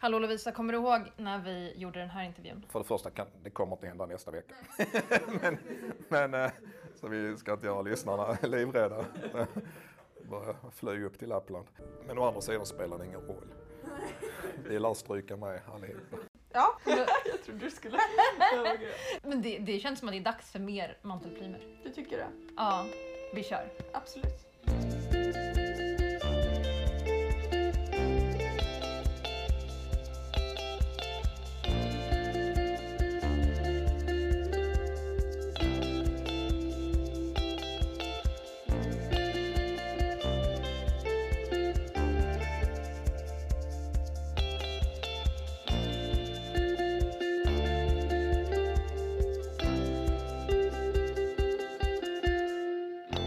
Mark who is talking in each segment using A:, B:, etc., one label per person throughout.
A: Hallå Lovisa, kommer du ihåg när vi gjorde den här intervjun?
B: För det första, kan, det kommer inte hända nästa vecka. men, men, eh, så vi ska inte göra lyssnarna livrädda. Bara flyg upp till Lappland. Men å andra sidan spelar det ingen roll. Vi lär stryka med allihopa.
C: Ja,
A: Men-
C: jag trodde du skulle...
A: Men det, det känns som att det är dags för mer mantelprimer.
C: Du tycker det?
A: Ja, vi kör.
C: Absolut.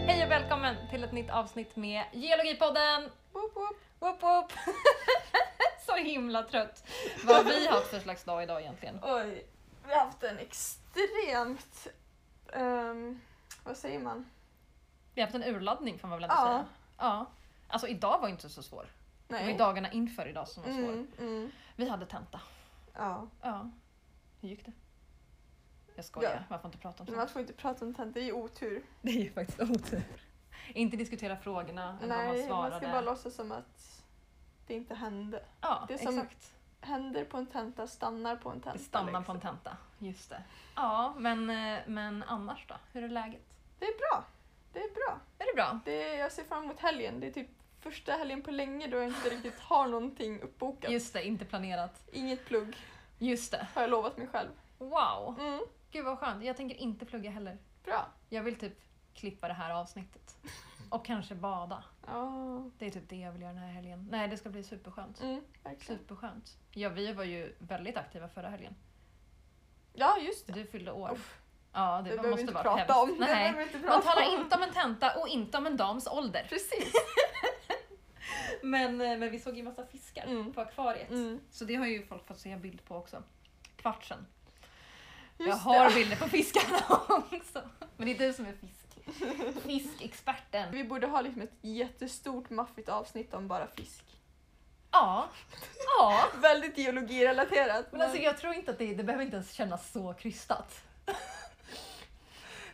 A: Hej och välkommen till ett nytt avsnitt med Geologipodden!
C: Woop, woop.
A: Woop woop! Så himla trött. Vad har vi haft för slags dag idag egentligen?
C: Oj, vi har haft en extremt... ehm, vad säger man?
A: Vi har haft en urladdning får man väl ändå
C: Ja.
A: säga. Ja. Alltså idag var inte så svår. Det var ju dagarna inför idag som var svår.
C: Mm, mm,
A: Vi hade tenta.
C: ja.
A: Ja. Hur gick det? Jag skojar,
C: Ja.
A: man får inte prata om
C: Men
A: sånt.
C: man får inte prata om tentor, det är ju otur.
A: Det är ju faktiskt otur. Inte diskutera frågorna eller vad man
C: Nej, man,
A: svarade.
C: ska bara låtsas som att det inte hände.
A: ja,
C: det är som-
A: exakt.
C: Händer på en tenta, stannar på en tenta.
A: Stanna på
C: liksom.
A: en tenta. Just det. Ja, men, eh, men annars då? Hur är läget?
C: Det är bra. Det är bra.
A: Är det bra?
C: Det är, jag ser fram emot helgen. Det är typ första helgen på länge då jag inte riktigt har någonting uppbokat.
A: Just det, inte planerat.
C: Inget plugg,
A: Just det.
C: har jag lovat mig själv.
A: Wow!
C: Mm,
A: Gud vad skönt. Jag tänker inte plugga heller.
C: bra.
A: Jag vill typ klippa det här avsnittet. Och kanske bada.
C: Ja,
A: Det är typ det jag vill göra den här helgen. Nej, det ska bli superskönt.
C: mm, verkligen.
A: Superskönt. Ja, vi var ju väldigt aktiva förra helgen.
C: Ja, just det.
A: Du fyllde år.
C: Uff.
A: Ja,
C: Det
A: det,
C: behöver
A: måste
C: vi inte
A: vara
C: prata
A: hemskt.
C: om. Det
A: Nej.
C: behöver vi inte
A: Man
C: prata
A: talar
C: om.
A: inte om en tenta och inte om en dams ålder.
C: Precis.
A: Men, eh, men vi såg ju massa fiskar
C: Mm.
A: på akvariet.
C: Mm.
A: Så det har ju folk fått se bild på också. Kvartsen.
C: Just
A: jag har bilder på fiskarna också. Men det är du som är fisk. Fiskexperten.
C: Vi borde ha liksom ett jättestort maffigt avsnitt om bara fisk.
A: Ja. Ja.
C: Väldigt geologirelaterat.
A: Men alltså jag tror inte att det, det behöver inte ens kännas så krystat.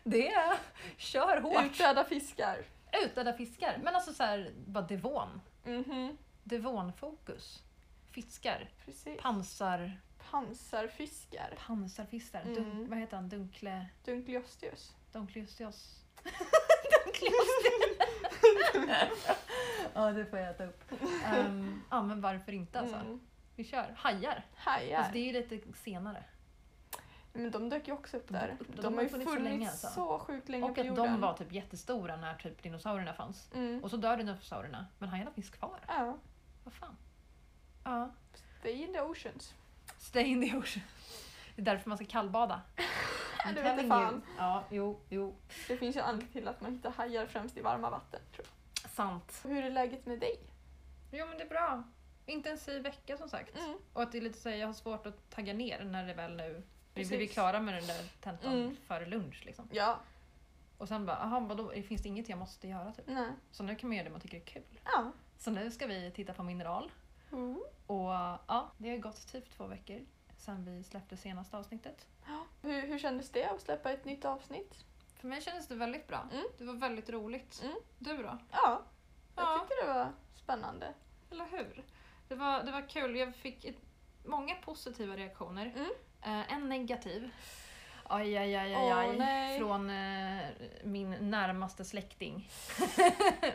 A: Det är... Kör hårt.
C: Utdöda fiskar.
A: Utdöda fiskar. Men alltså så här, bara devon.
C: Mhm,
A: Devonfokus. Fiskar.
C: precis.
A: Pansar...
C: Pansarfiskar.
A: Pansarfiskar. Dun,
C: Mm.
A: vad heter han? Dunkle...
C: Dunkleosteus.
A: Dunkleosteos. Dunkleosteos. ja, det får jag äta upp. Ehm, ja, men varför inte alltså?
C: Mm.
A: Vi kör. Hajar.
C: Hajar.
A: Alltså, det är ju lite senare.
C: Men de dök ju också upp
A: De
C: där.
A: dök upp.
C: De,
A: De
C: har
A: har
C: ju
A: funnits så
C: funnits
A: länge,
C: så,
A: alltså.
C: sjukt länge
A: Och
C: på
A: att
C: jorden.
A: de var typ jättestora när typ dinosaurierna fanns.
C: Mm.
A: Och så dör dinosaurierna, men hajarna finns kvar.
C: Ja.
A: Vad fan? Ja.
C: Stay in the oceans.
A: Stay in the ocean. Det är därför man ska kallbada. I'm
C: Det vet
A: telling
C: fan.
A: you. Ja, jo, jo.
C: Det finns ju en anledning till att man hittar hajar främst i varma vatten. Tror
A: Sant.
C: jag. Hur är läget med dig?
A: Jo men det är bra. Intensiv vecka som sagt.
C: Mm.
A: Och att det är lite så här, jag har svårt att tagga ner när det väl nu... Vi
C: Precis.
A: blev ju klara med den där tentan
C: Mm.
A: före lunch liksom.
C: Ja.
A: Och sen bara, jaha vadå, finns det inget jag måste göra typ?
C: Nej.
A: Så nu kan man göra det man tycker är kul.
C: Ja.
A: Så nu ska vi titta på mineral.
C: Mm.
A: Och ja, det har ju gått typ två veckor sedan vi släppte senaste avsnittet.
C: Hur, hur kändes det att släppa ett nytt avsnitt?
A: För mig kändes det väldigt bra.
C: Mm.
A: Det var väldigt roligt.
C: Mm.
A: Du då?
C: Ja. Jag
A: Ja.
C: tyckte det var spännande.
A: Eller hur? Det var, det var kul. Jag fick ett, många positiva reaktioner.
C: Mm.
A: Eh, en negativ. Aj, aj, aj, aj,
C: Åh,
A: aj.
C: nej.
A: Från eh, min närmaste släkting.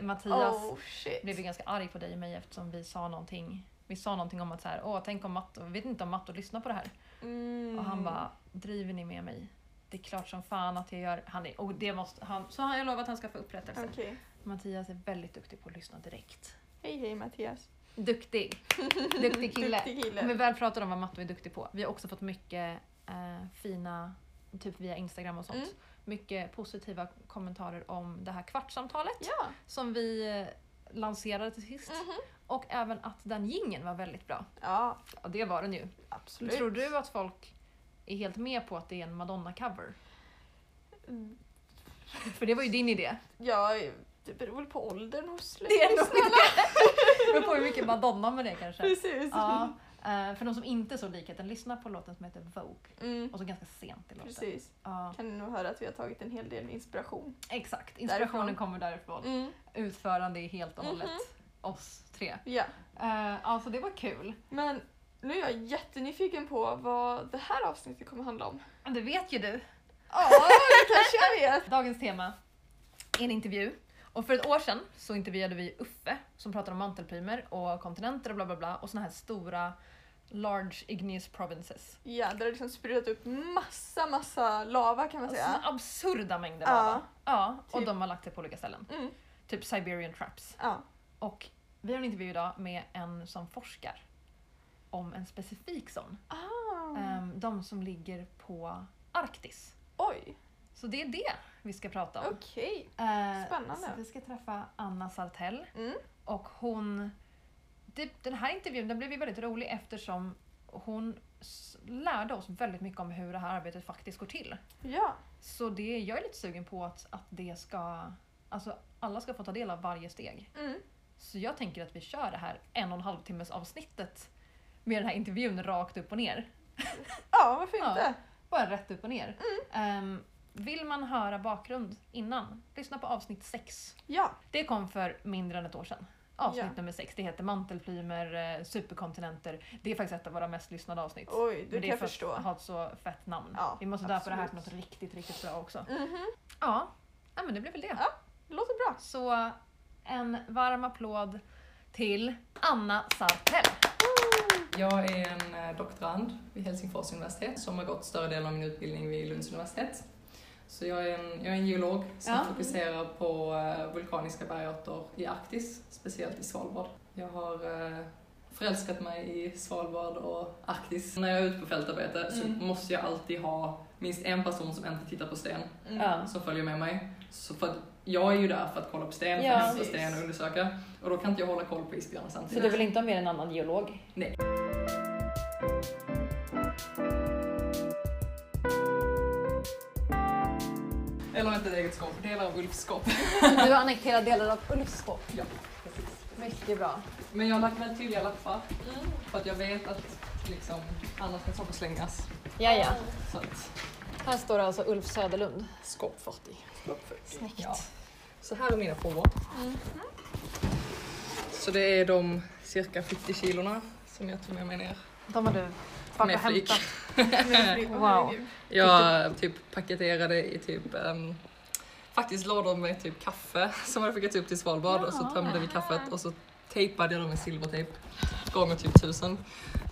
A: Mattias.
C: Oh shit.
A: Blev ju ganska arg på dig och mig eftersom vi sa någonting. Vi sa någonting om att så här, åh tänk om Matto, vet inte om Matto lyssnar på det här.
C: Mm.
A: Och han bara, driver ni med mig? Det är klart som fan att jag gör. Han är, och det måste, han, så har jag lovat att han ska få upprättelse.
C: Okej.
A: Mattias är väldigt duktig på att lyssna direkt.
C: Hej hej Mattias.
A: Duktig. Duktig kille.
C: Duktig kille.
A: Om vi väl pratar om vad Matto är duktig på. Vi har också fått mycket eh, fina, typ via Instagram och sånt,
C: Mm.
A: mycket positiva kommentarer om det här kvartssamtalet
C: Ja.
A: som vi eh, lanserade till sist.
C: Mhm.
A: Och även att den gingen var väldigt bra.
C: Ja,
A: Ja, det var den ju.
C: absolut.
A: Tror du att folk är helt med på att det är en Madonna-cover?
C: Mm.
A: För det var ju din idé.
C: Ja, det beror väl på åldern hos
A: Det är nog
C: lyssnarna.
A: Det beror på hur mycket Madonna med det kanske.
C: Precis.
A: Ja, Eh, för de som inte såg likheten, lyssna på låten som heter Vogue.
D: Mm,
A: Och så ganska sent i låten.
D: precis.
A: Ja,
D: Kan ni nog höra att vi har tagit en hel del inspiration.
A: exakt, inspirationen
D: Därifrån.
A: kommer därifrån.
D: Mm,
A: Utförande är helt och hållet
D: Mhm.
A: oss tre.
D: ja.
A: Eh, alltså det var kul.
D: Men nu är jag jättenyfiken på vad det här avsnittet kommer handla om.
A: Det vet ju du.
D: Ja, det kanske jag vet!
A: Dagens tema är en intervju. Och för ett år sedan så intervjuade vi Uffe som pratade om mantelplymer och kontinenter och bla bla bla och såna här stora large igneous provinces.
D: Ja, där har liksom sprutat upp massa, massa lava kan man
A: Alltså,
D: säga.
A: absurda mängder
D: Ja.
A: lava. Ja, och
D: Typ.
A: de har lagt sig på olika ställen.
D: Mm,
A: Typ Siberian traps.
D: ja.
A: Och vi har en intervju idag med en som forskar om en specifik sån.
D: Ah,
A: Ehm, de som ligger på Arktis.
D: oj,
A: Så det är det vi ska prata om.
D: okej.
A: Eh,
D: Spännande.
A: Så vi ska träffa Anna Sartell.
D: Mm.
A: Och hon... Det, den här intervjun den blev ju väldigt rolig eftersom hon s- lärde oss väldigt mycket om hur det här arbetet faktiskt går till.
D: Ja,
A: Så det, jag är lite sugen på att, att det ska... Alltså alla ska få ta del av varje steg.
D: mm,
A: Så jag tänker att vi kör det här en och en halv timmes avsnittet med den här intervjun rakt upp och ner.
D: ja varför
A: Ja.
D: inte?
A: Bara rätt upp och ner.
D: Mm.
A: Ehm, vill man höra bakgrund innan, lyssna på avsnitt 6.
D: Ja,
A: Det kom för mindre än ett år sedan. Avsnitt
D: Ja.
A: nummer 6. Det heter Mantelplymer, eh, superkontinenter. Det är faktiskt ett av våra mest lyssnade avsnitt.
D: oj,
A: Men
D: du
A: det
D: kan
A: är
D: jag
A: för
D: förstå.
A: att ha ett så fett namn.
D: Ja,
A: Vi måste döpa det här till
D: absolut.
A: något riktigt, riktigt bra också.
D: Mhm,
A: Ja, ja men det blir väl det.
D: Ja. det låter bra.
A: Så en varm applåd till Anna Sartell.
E: Jag är en eh, doktorand vid Helsingfors universitet som har gått större delen av min utbildning vid Lunds universitet. Så jag är en, jag är en geolog som
A: Ja.
E: fokuserar på eh, vulkaniska bergarter i Arktis, speciellt i Svalbard. Jag har eh, förälskat mig i Svalbard och Arktis. När jag är ute på fältarbete
A: Mm.
E: så måste jag alltid ha minst en person som inte tittar på sten
A: Ja.
E: som följer med mig. Så för att jag är ju där för att kolla på
A: Ja.
E: sten, för att hämta
D: Precis.
E: sten och undersöka. Och då kan inte jag hålla koll på isbjörnar samtidigt.
A: du vill inte ha med en annan geolog?
E: Nej. Eller inte ett eget skåp, delar av Ulfs skåp.
A: Du har annekterat delar av Ulfskog.
E: Ja, precis.
A: Mycket bra.
E: Men jag har lagt väldigt tydliga lappar för att jag vet att liksom, annars kan saker slängas.
A: Ja, ja.
E: Så att,
A: Här står det alltså Ulf Söderlund.
E: skåp 40.
A: Snyggt.
E: Ja. Så här är mina prover. Så det är de cirka 70 kilorna som jag tog med mig ner.
A: De har du
E: Med
A: varit och
E: flyg.
A: hämtat.
D: Men- Mm.
A: Wow.
D: herregud.
E: Jag typ paketerade i typ ehm, faktiskt lådor med typ kaffe som hade skickats upp till Svalbard och så tömde vi kaffet och så tejpade jag dem med silvertejp gånger typ tusen.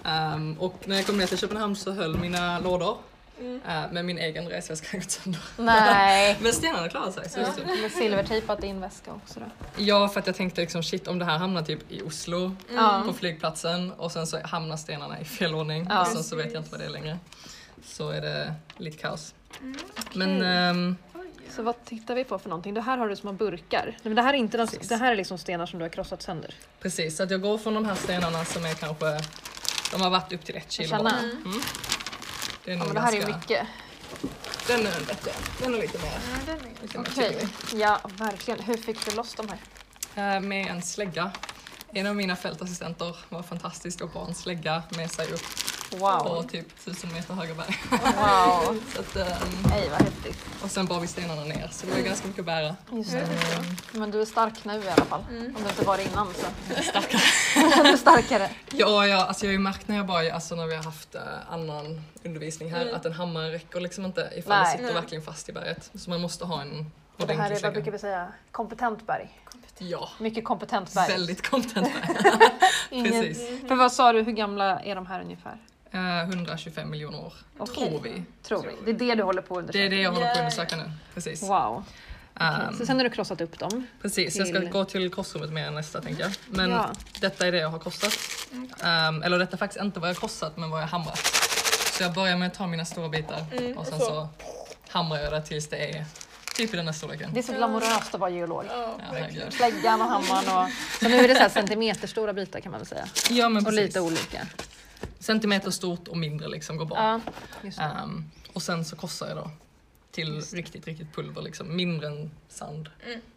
E: Ehm, och när jag kom ner till Köpenhamn så höll mina lådor
D: Mm.
E: eh, med min egen resväska gått sönder.
A: Nej.
E: Men stenarna klarade sig. Så det är så.
A: Med silvertejpat i en väska också då.
E: Mm. Ja, för att jag tänkte liksom shit om det här hamnar typ i Oslo
A: Ja.
E: på flygplatsen och sen så hamnar stenarna i fel ordning
A: Ja.
E: och sen så vet jag inte vad det är längre. Så är det lite kaos. Men ehm,
A: Så vad tittar vi på för någonting? Det här har du små burkar. Nej, men det här är inte de,
E: Precis.
A: det här är liksom stenar som du har krossat sönder.
E: Precis, så att jag går från de här stenarna som är kanske, de har varit upp till ett kilo.
A: Känna.
E: bort. Det är
A: Ja, men
E: nog
A: det här är
E: Mm. ganska-
A: mycket.
E: Den är lite, den är lite mer. lite mer
A: Okej.
E: tyngre.
A: Ja, verkligen. Hur fick du loss de här?
E: Eh, Med en slägga. En av mina fältassistenter var fantastisk och bar en slägga med sig upp på
A: Wow.
E: typ 1000 meter höga berg.
A: Wow.
E: Så att, ehm,
A: Nej, vad häftigt.
E: och sen bar vi stenarna ner, så det var
A: Mm.
E: ganska mycket att bära.
A: Just
E: Mm.
A: det. Men du är stark nu i alla fall. Om du inte var det innan så. Starkare. du är starkare.
E: Ja, ja alltså jag har ju märkt när jag bara, alltså när vi har haft eh, annan undervisning här, att en hammare räcker liksom inte ifall det
A: Mm. Nej.
E: sitter
D: Nej.
E: verkligen fast i berget. Så man måste ha en
A: Och det här
E: ordentlig
A: är, vad
E: slägga.
A: brukar vi säga, kompetent berg.
E: Ja,
A: Mycket kompetent berg.
E: väldigt content där.
A: Ingen-
E: Precis.
F: Mhm.
A: För vad sa du, hur gamla är de här ungefär?
E: Eh, 125 miljoner år,
A: Okej.
E: tror vi.
A: Tror vi. Det är det du håller på att
E: Det är
A: undersöka.
E: det jag håller på att
D: Ja,
E: undersöka nu. Precis.
A: Wow. Okej,
E: Ehm,
A: Så sen har du krossat upp dem.
E: precis, jag ska
A: till-
E: gå till korsrummet mer nästa tänker jag. Men
A: Ja.
E: detta är det jag har korsat. Ehm, eller detta är faktiskt inte vad jag har korsat, men vad jag har hamrat. Så jag börjar med att ta mina stora bitar
A: Mm,
E: och sen så. hamrar jag det tills det är typ i den här storleken.
A: Det är så glamoröst att vara geolog.
D: Ja,
E: Ja,
D: verkligen.
E: herregud.
A: Släggan och hammaren och... Så nu är det så här centimeterstora bitar kan man väl säga.
E: ja men
A: Och
E: precis.
A: lite olika.
E: Centimeter stort och mindre liksom går bra.
A: Ja, just det.
E: Ehm, och sen så korsar jag då till
A: Just det.
E: riktigt, riktigt pulver liksom. Mindre än sand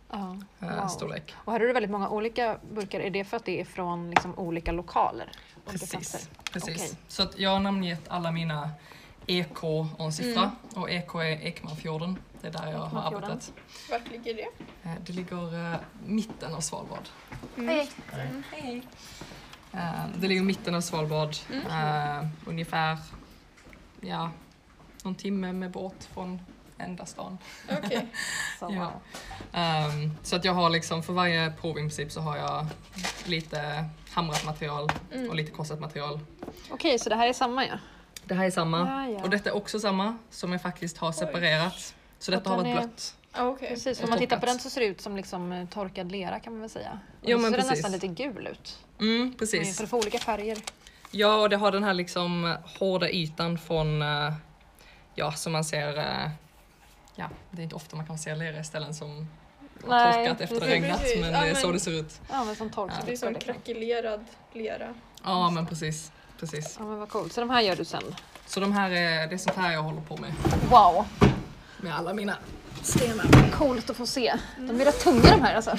A: Ja.
E: eh,
F: Wow.
E: storlek.
F: Och här har du väldigt många olika burkar. Är det för att det är från liksom olika lokaler? Olika platser?
E: Precis. precis.
F: Okej.
E: Så att jag har namngett alla mina EK och en siffra
F: Mm.
E: och EK är Ekmanfjorden. Det är där jag har
F: Ekmanfjorden.
E: arbetat.
D: Vart ligger det?
E: Eh, Det ligger eh, mitten av Svalbard.
F: Mm.
D: Hej.
E: Eh, Det ligger i mitten av Svalbard.
F: Mm.
E: Eh, ungefär ja, någon timme med båt från enda stan.
D: Okej.
F: Så,
E: Ja.
F: Oh, wow.
E: Ehm, så att jag har liksom, för varje prov i princip så har jag lite hamrat material
F: Mm.
E: och lite korsat material.
F: Okej, så det här är samma ja?
E: Det här är samma
F: Ja, ja.
E: och detta är också samma som jag faktiskt har separerat. Så detta har
F: Och
E: varit
F: den är-
E: blött.
D: Ah, Okej.
F: Precis, om
E: Och
F: man tittar på
E: toppat.
F: den så ser det ut som liksom eh, torkad lera kan man väl säga. Och
E: Jo,
F: då
E: men
F: ser den
E: precis.
F: nästan lite gul ut.
E: Mm,
F: Precis.
E: precis.
F: För det får olika färger.
E: Ja, och det har den här liksom hårda ytan från, eh, ja, som man ser, eh, ja, det är inte ofta man kan se lera i ställen som har
F: Nej,
E: torkat efter det
F: precis.
E: regnat,
D: Precis.
E: men
D: Ja,
E: det är så
D: men-
E: det ser ut.
F: Ja, men som torkat.
D: Det är som
F: liksom.
D: krackelerad lera.
E: Ja, men precis. Precis.
F: Ja, men vad coolt. Så de här gör du sen?
E: Så de här är, det är sånt här jag håller på med,
F: Wow,
E: med alla mina stenar.
F: coolt att få se. De är rätt tunga de här alltså.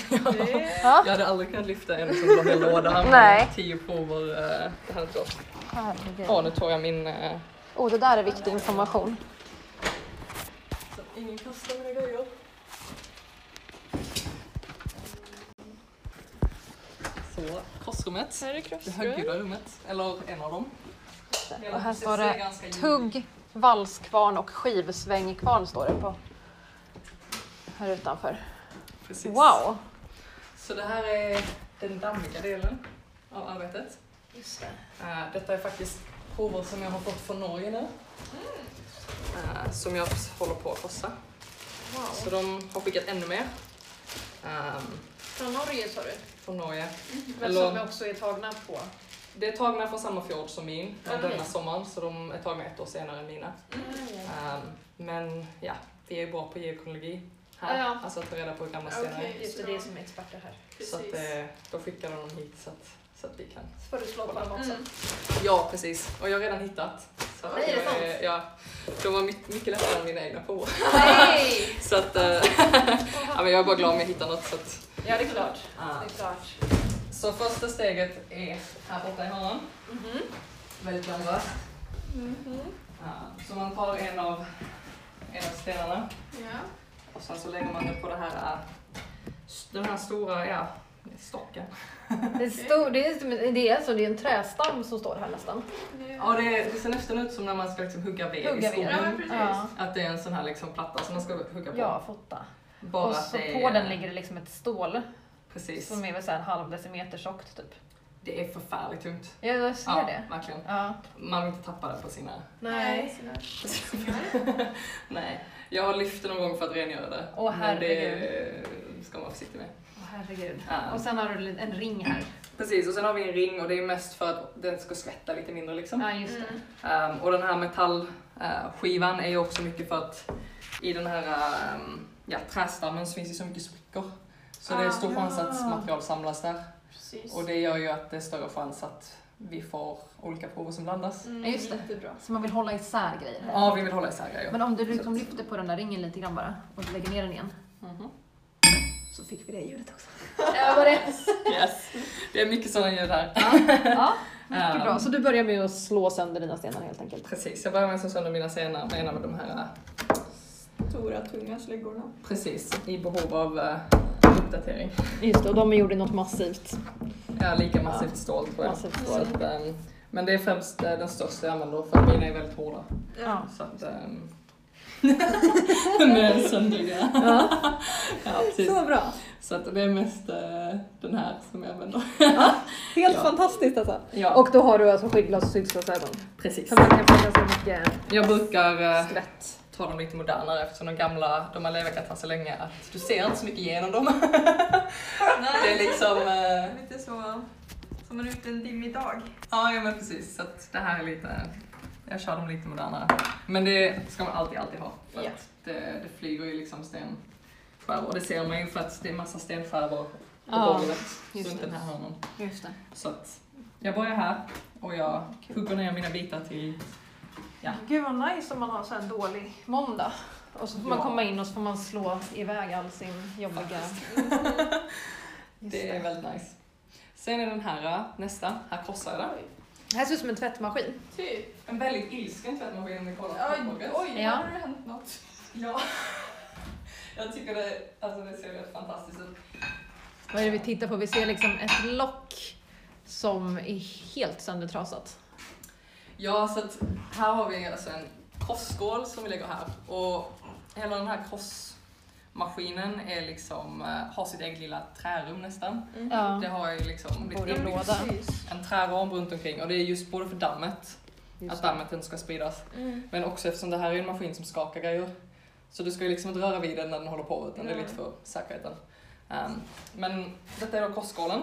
E: Jag hade aldrig kunnat lyfta en sån lång låda
F: Nej.
E: med tio prover. eh, Det hade inte gått.
F: Herregud.
E: Åh, nu tog jag min... eh,
F: Åh, det där är viktig information.
E: Så att ingen kastar mina grejer. Så, korsrummet.
D: Här är
E: Det
D: kroppsrum.
E: högljudda rummet. Eller en av dem. Hela
F: Och här
E: huset
F: står
E: ser
F: det
E: ganska ljudligt.
F: tugg, valskvarn och skivsvängkvarn står det på. Här utanför.
E: Precis.
F: Wow!
E: Så det här är den dammiga delen av arbetet.
D: Just det.
E: Eh, Detta är faktiskt prover som jag har fått från Norge nu. Eh, Som jag håller på att korsa. Så de har skickat ännu mer. Ehm,
A: Från Norge sa du?
E: från Norge.
A: Men
E: Eller-
A: som också är tagna på.
E: Det är tagna från samma fjord som min men
A: Okej.
E: denna sommaren så de är tagna ett år senare än mina.
D: Mm.
E: Ehm, men ja, vi är bra på geokronologi här.
A: Ja, ja.
E: Alltså att ta reda på hur gamla stenar
D: Okej.
E: är.
A: Just det, det är som är experter här.
E: Så att,
D: Precis.
E: eh, då skickar de dem hit så att, så att vi kan.
A: Så får du slå på dem också.
D: Mm.
E: Ja, precis. Och jag har redan hittat. Så att
A: Nej, är det
E: jag
A: sant?
E: är- ja, de var mycket, mycket lättare än mina egna prover.
A: Nej!
E: Så att, eh, ja, men jag är bara glad om jag hittar något. Så att,
A: Ja, det är klart.
E: Ah.
A: Det är klart.
E: Så första steget är här borta i hörnan.
A: Mhm.
E: Väldigt glamoröst.
D: Mm. Mhm.
E: Ja, så man tar en av, en av stenarna
D: Ja.
E: och sen så lägger man den på det här, äh, s- den här stora ja, stocken.
A: Det är, stor, det, är, det, är alltså, det är en trästam som står här nästan.
E: Ja, det, är- det ser nästan ut som när man ska liksom hugga ved
A: Hugga
E: i skogen.
A: ved.
D: Ja, men precis.
A: Ja.
E: Att det är en sån här liksom platta som man ska hugga på.
A: Ja, fota.
E: Bara
A: Och
E: att
A: så
E: det
A: på
E: är-
A: den ligger det liksom ett stål
E: Precis.
A: som är väl så här en halv decimeter tjockt typ.
E: Det är förfärligt tungt.
A: Ja, jag ser
E: Ja,
A: det.
E: verkligen.
A: Ja.
E: Man vill inte tappa det på sina...
A: Nej.
E: Nej. Jag har lyft det någon gång för att rengöra det.
A: Åh,
E: men det eh, ska man vara försiktig med.
A: Åh, herregud.
E: Ja.
A: Och sen har du li- en ring här.
E: Precis, och sen har vi en ring och det är mest för att den ska skvätta lite mindre liksom.
D: Mm,
A: Ja, just det.
E: Ehm, och den här metallskivan eh, är ju också mycket för att i den här ehm, ja, trästammen så finns det så mycket sprickor. Så det är stor
D: Ah.
E: chans att material samlas där.
D: Precis.
E: Och det gör ju att det är större chans att vi får olika prover som blandas.
D: Mm,
A: Ja, just det.
D: Jättebra.
A: Så man vill hålla isär grejer. här.
E: Ja, vi vill hålla isär grejer.
A: Men om du liksom lyfter på den där ringen lite grann bara och lägger ner den igen
E: Mhm.
A: så fick vi det ljudet också. Ja, var det?
E: Yes. Det är mycket sådana ljud här.
A: Ja, mycket
E: Ehm,
A: bra.
F: Så du börjar med att slå sönder dina stenar helt enkelt?
E: Precis, jag börjar med att slå sönder mina stenar med en av de här eh,
D: Stora tunga släggorna.
E: precis i behov av eh, uppdatering.
F: Just det, och de är gjorda i något massivt.
E: Ja, lika massivt stål tror jag.
F: Massivt
E: Så att, ehm, men det är främst eh, den största jag använder för att mina är väldigt hårda.
A: Ja.
E: Så att, ehm, med söndriga. Ja. precis.
F: Så bra!
E: Så att det är mest eh, den här som jag använder.
F: Helt
E: Ja.
F: fantastiskt alltså!
E: Ja,
F: Och då har du alltså skyddsglas och skyddsglasögon?
E: precis.
F: För man kan få ganska mycket
E: Jag brukar eh,
F: skvätt.
E: ta dem lite modernare eftersom de gamla, de har leverkat här så länge att du ser inte så mycket igenom dem. Det är liksom, eh,
D: Lite så som en ute en dimmig dag.
E: Ja, ja men precis. Så att det här är lite, jag kör dem lite modernare. Men det ska man alltid, alltid ha. För
D: Ja.
E: att det, det flyger ju liksom stenskärvor och det ser man ju för att det är massa stenskärvor på
F: Ja,
E: golvet
F: just
E: runt
F: det.
E: den här hörnan.
F: Just det.
E: Så att jag börjar här och jag hugger ner mina bitar till
A: Gud vad nice om man har så en dålig måndag Och så får man komma in och så får man slå iväg all sin jobbiga... Just
E: Det är väldigt nice. Sen är den här, äh, nästa, här krossar jag den.
A: Det här ser ut som en tvättmaskin.
D: Typ.
E: En väldigt ilsken tvättmaskin om ni kollar på
D: Oj,
E: tåget.
D: oj,
A: Ja.
D: ja. har det hänt något?
E: Ja. Jag tycker det, alltså det ser helt fantastiskt ut.
A: Vad är det vi tittar på? Vi ser liksom ett lock som är helt söndertrasat.
E: Ja, så att här har vi alltså en krossskål som vi lägger här och hela den här krossmaskinen är liksom, eh, har sitt eget lilla trärum nästan.
A: Ja.
E: Det har ju liksom
A: Borde en
E: inbyggt
A: låda.
D: Mm. Precis.
E: en träram runt omkring och det är just både för dammet, att dammet inte ska spridas,
D: Mm.
E: men också eftersom det här är en maskin som skakar grejer. Så du ska ju liksom inte röra vid den när den håller på utan det är lite för säkerheten. Ehm, men detta är då krossskålen.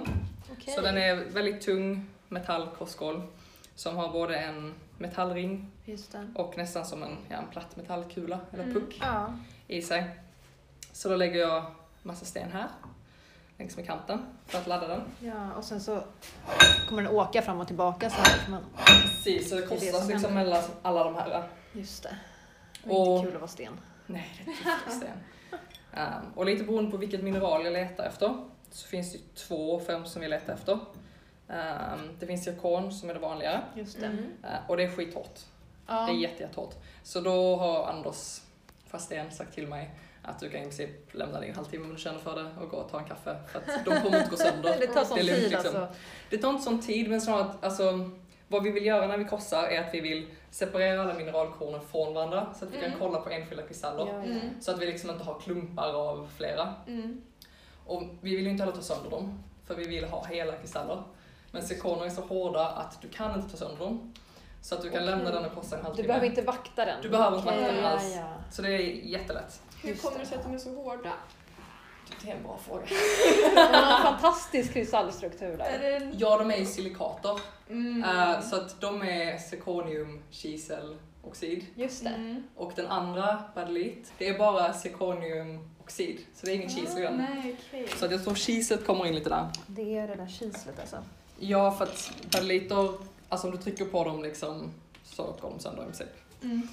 D: Okej.
E: Så den är väldigt tung metallkrossskål som har både en metallring
D: Just det.
E: och nästan som en, ja, en platt metallkula eller
D: Mm.
E: puck
A: Ja.
E: i sig. Så då lägger jag massa sten här längs med kanten för att ladda den.
A: ja, och sen så kommer den åka fram och tillbaka så här. så Man...
E: Precis, så det
A: Det är det
E: korsas
A: som
E: liksom
A: händer.
E: mellan alla de här.
A: Just det. Och...
E: Och-
A: Inte kul att vara sten.
E: Nej, det är tufft sten. Ehm, och lite beroende på vilket mineral jag letar efter så finns det ju två och fem som vi letar efter. Ehm, det finns zirkon som är det vanliga
A: Just det.
D: Mm.
E: eh, och det är skithårt.
A: Ja.
E: Det är jätte, jättehårt. Så då har Anders Fastén sagt till mig att du kan i princip lämna dig en halvtimme om du känner för det och gå och ta en kaffe. För att de kommer inte gå sönder.
A: det tar sån
E: Det är lugnt,
A: tid
E: liksom.
A: alltså.
E: Det tar inte sån tid men snarare att alltså, vad vi vill göra när vi korsar är att vi vill separera alla mineralkornen från varandra så att vi kan
D: Mm.
E: kolla på enskilda kristaller.
A: Ja, ja.
D: Mm.
E: Så att vi liksom inte har klumpar av flera.
D: Mm.
E: Och vi vill ju inte heller ta sönder dem, för vi vill ha hela kristaller. Men zirkoner är så hårda att du kan inte ta sönder dem. Så att du kan
A: Okej.
E: lämna den och korsa en
A: Du
E: halvtimme.
A: behöver inte vakta den.
E: Du behöver inte
A: Okej,
D: vakta den
A: ja,
E: alls.
A: ja.
E: Så det är jättelätt.
D: Hur
A: Just
D: kommer
A: det.
D: det sig att de är så hårda?
E: Det är en bra fråga.
A: Den har en fantastisk kristallstruktur
D: Är
A: där.
D: det en...
E: Ja, de är ju silikater.
D: Mm.
E: Eh, så att de är zirkoniumkiseloxid.
A: Just det.
D: Mm.
E: Och den andra, badelit, det är bara zirkoniumoxid. Så det är inget kisel i
D: Ah,
E: den.
D: Nej, okej.
E: Så att jag tror kiset kommer in lite där.
A: Det är det där kislet alltså.
E: Ja, för att badeliter, alltså om du trycker på dem liksom så går de sönder typ. i princip.
D: Mm.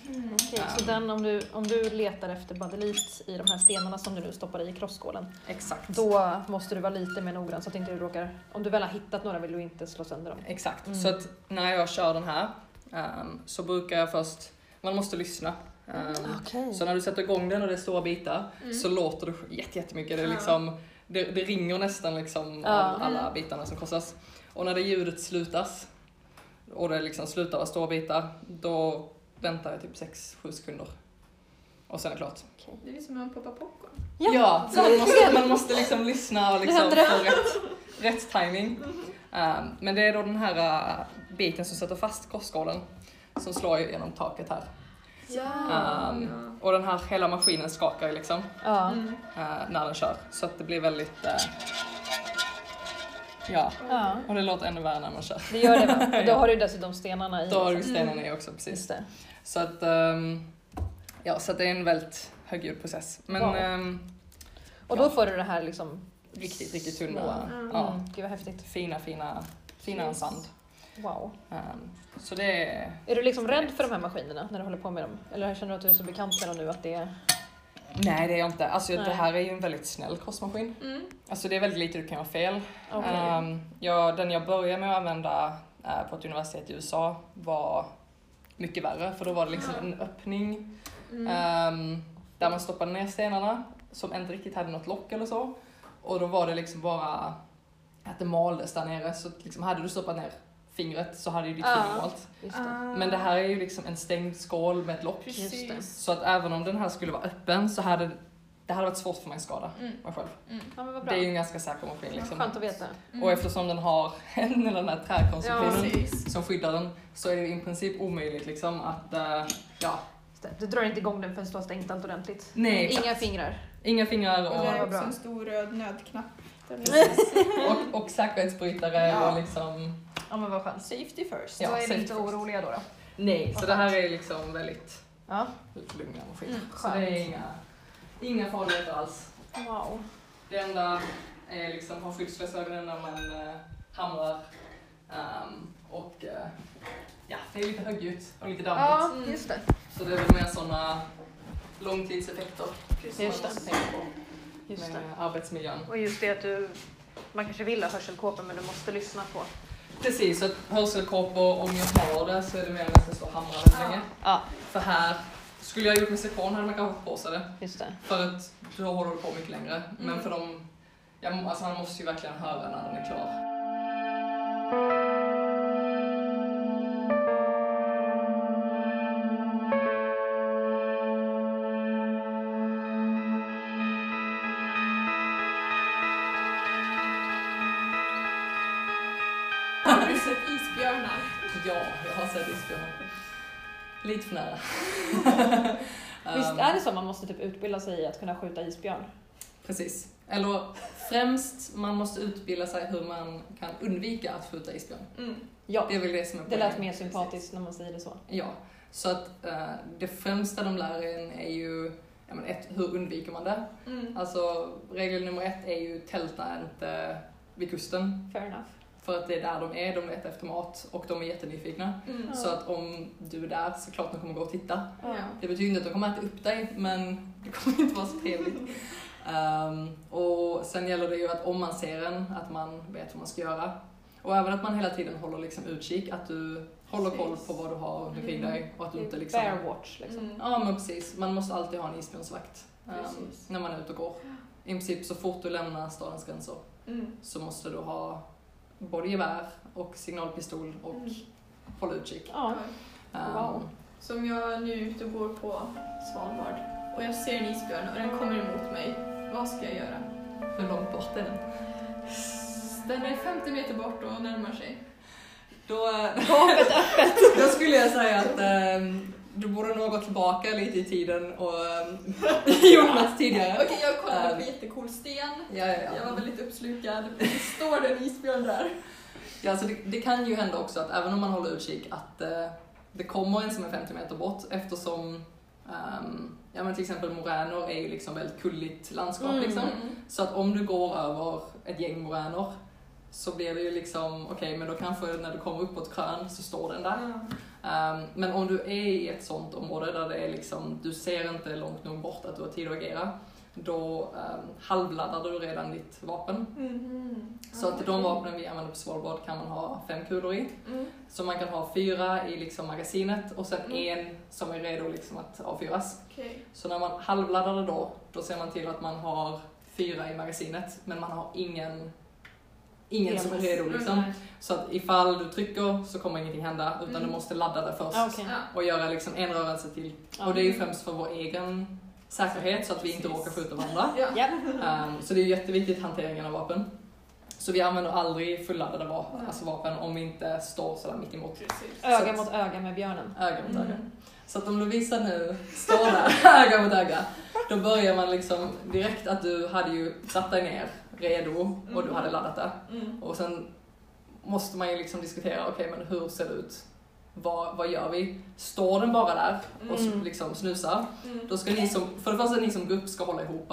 A: Okej, så
E: Um.
A: den, om, du, om du letar efter badelit i de här stenarna som du nu stoppar i krosskålen,
E: Exakt.
A: då måste du vara lite mer noggrann så att inte du råkar... Om du väl har hittat några vill du inte slå sönder dem.
E: Exakt.
A: Mm.
E: Så att när jag kör den här ehm, så brukar jag först, man måste lyssna. Ehm,
A: Okej.
E: Så när du sätter igång den och det är stora bitar
D: Mm.
E: så låter det jätte- jättemycket. Det, är
D: Ja.
E: liksom, det, det ringer nästan liksom
A: Ja. Mm.
E: av alla bitarna som korsas. Och när det ljudet slutas och det liksom slutar vara stora bitar, då väntar jag typ 6-7 sekunder. Och sen är det klart.
D: Det är som när man poppar popcorn.
A: Ja,
E: Ja, så man måste, man måste liksom lyssna och liksom
A: händer Mm-hmm.
E: få
A: det.
E: rätt, rätt timing. Ehm, men det är då den här eh, biten som sätter fast krosskålen som slår ju genom taket här.
A: Ah.
D: Ja.
E: Ehm, Och den här hela maskinen skakar ju liksom
A: Ja.
D: Mm.
E: eh, när den kör så att det blir väldigt... eh, ja,
A: ja.
E: och det låter ännu värre när man kör.
A: Det gör det va? Då har du dessutom stenarna i.
E: Då har du
A: liksom.
E: stenarna i också precis.
A: Just det.
E: Så att, ehm, ja, så att det är en väldigt högljudd process. Men
A: Wow.
E: ehm,
A: Och då får du det här liksom...
E: riktigt, riktigt tunna.
A: Små.
E: Ja.
A: Mm. Gud vad häftigt.
E: fina, fina, fina än sand.
A: Wow.
E: Ehm, så det är...
A: Är du liksom rädd för de här maskinerna när du håller på med dem? Eller känner du att du är så bekant med dem nu att det är...
E: Nej, det är jag inte. Alltså,
A: Nej.
E: det här är ju en väldigt snäll krossmaskin.
D: Mm.
E: Alltså, det är väldigt lite du kan göra fel.
A: Okej.
E: Ehm, jag, den jag började med att använda eh, på ett universitet i USA var mycket värre, för då var det liksom en öppning
D: Mm.
E: ehm, där man stoppade ner stenarna som inte riktigt hade något lock eller så. Och då var det liksom bara att det maldes där nere, så att liksom, hade du stoppat ner fingret så hade ju ditt
A: Ja.
E: finger malt.
A: Just det.
D: Ah,
E: Men det här är ju liksom en stängd skål med ett lock.
A: Just det.
E: Så att även om den här skulle vara öppen så hade det hade varit svårt för mig att skada
D: Mm.
E: mig själv.
D: Mm.
A: Ja men vad
E: Det
A: bra.
E: är ju en ganska säker maskin liksom.
A: Skönt att veta.
D: Mm.
E: Och eftersom den har en eller den här träkonstruktionen
D: Precis.
E: som skyddar den så är det ju i princip omöjligt liksom att, eh, ja,
A: Just det. Du drar inte igång den förrän du har stängt allt ordentligt.
E: nej exakt.
A: Inga fingrar.
E: Inga fingrar
D: Och det
E: och,
D: är
A: vad
D: också
A: bra.
D: en stor röd nödknapp. Den är
E: och, och säkerhetsbrytare
D: Ja.
E: och liksom,
A: Ja men vad skönt.
D: Safety first.
E: Ja,
A: då är ni
E: safety
A: inte
E: first.
A: oroliga då? då.
E: nej. Så det här är liksom väldigt
A: Ja.
E: lugna maskiner.
D: Mm,
E: så det är inga, inga farligheter alls.
A: Wow.
E: Det enda är liksom ha skyddsglasögonen när man eh, hamrar. Ehm, och eh,
A: mm.
E: ja, det är lite högljutt och lite dammigt.
A: just det.
E: Så det är väl mer sådana långtidseffekter. som
A: Just
E: man
A: det.
E: måste tänka på
A: Just det.
E: Med arbetsmiljön.
A: Och just det att du, man kanske vill ha hörselkåpor men du måste lyssna på.
E: Precis, så att hörselkåpor, om jag har det så är det mer än att jag står och hamrar väldigt länge.
A: Ja,
E: För här, skulle jag gjort med silikon hade man kanske haft på sig det.
A: just det.
E: För att då håller du på mycket längre.
A: Mm.
E: Men för dem, ja, alltså man måste ju verkligen höra när den är klar.
C: Har du sett isbjörnar?
E: Ja, jag har sett isbjörnar. Lite för nära. Ehm,
A: Visst är det så man måste typ utbilda sig i att kunna skjuta isbjörn?
E: Precis. Eller främst, man måste utbilda sig hur man kan undvika att skjuta isbjörn.
C: Mm.
A: Ja,
E: Det är väl det som är
A: det lät
E: poängen.
A: mer sympatiskt när man säger det så.
E: Ja, så att eh, det främsta de lär en är ju ja, men ett, hur undviker man det?
C: Mm.
E: Alltså regel nummer ett är ju tälta inte vid kusten
A: Fair enough.
E: för att det är där de är, de letar efter mat och de är jättenyfikna.
C: Mm.
E: Så att om du är där så klart de kommer gå och titta.
A: Ja.
C: Ja.
E: Det betyder inte att de kommer äta upp dig men det kommer inte vara så trevligt. Ehm, och sen gäller det ju att om man ser en, att man vet vad man ska göra. Och även att man hela tiden håller liksom utkik, att du håller koll på vad du har runt omkring dig och att du inte liksom...
A: Bear watch liksom.
C: Mm.
E: Ja men precis, man måste alltid ha en isbjörnsvakt ehm,
C: Precis.
E: när man är ute och går. I princip så fort du lämnar stadens gränser
C: Mm.
E: så måste du ha både gevär och signalpistol och
C: Mm.
E: hålla utkik.
A: Ja.
E: Ehm,
A: Wow.
C: Som jag nu är ute och går på Svalbard och jag ser en isbjörn och den kommer emot mig. Vad ska jag göra?
E: Hur långt bort är den?
C: Den är 50 meter bort och närmar sig.
E: Då, eh, då skulle jag säga att ehm, du borde nog gå tillbaka lite i tiden och ehm, gjort något tidigare.
C: Okej, jag kollar på
E: Ähm.
C: jättecool sten.
E: Ja, ja, ja.
C: Jag var väldigt uppslukad. Står det en isbjörn där?
E: Ja, alltså det, det kan ju hända också att även om man håller utkik att eh, det kommer en som är 50 meter bort eftersom ehm, ja, men till exempel moränor är ju liksom väldigt kulligt landskap.
A: Mm.
E: Liksom. Så att om du går över ett gäng moränor så blir det ju liksom, okej men då kanske när du kommer uppåt krön så står den där.
C: Ja.
E: Ehm, men om du är i ett sånt område där det är liksom, du ser inte långt nog bort att du har tid att agera, då um, halvladdar du redan ditt vapen.
C: Mm.
E: Så att de vapnen vi använder på Svalbard kan man ha fem kulor i.
C: Mm.
E: Så man kan ha fyra i liksom magasinet och sen
C: Mm.
E: en som är redo liksom att avfyras.
C: Okej.
E: Så när man halvladdar det då, då ser man till att man har fyra i magasinet men man har ingen, ingen som är redo liksom. Så att ifall du trycker så kommer ingenting hända utan
C: Mm.
E: du måste ladda det först
A: Ja, okej.
C: Ja.
E: och göra liksom en rörelse till. Och det är ju främst för vår egen säkerhet så att vi inte
C: Mm. Precis.
E: råkar skjuta varandra.
C: Ja.
A: Ja.
E: Ehm, så det är ju jätteviktigt hanteringen av vapen. Så vi använder aldrig fulladdade vapen,
C: Nej.
E: alltså vapen om vi inte står sådär mitt emot.
C: Precis.
A: Öga mot öga med björnen.
E: Öga mot öga.
C: Mm.
E: Så att om Lovisa nu står där, öga mot öga, då börjar man liksom direkt att du hade ju satt dig ner, redo, och du
C: Mm.
E: hade laddat det.
C: Mm.
E: Och sen måste man ju liksom diskutera, okej men hur ser det ut? Vad, vad gör vi? Står den bara där och
A: Mm.
E: liksom snusar?
C: Mm.
E: Då ska ni som, för det första ni som grupp ska hålla ihop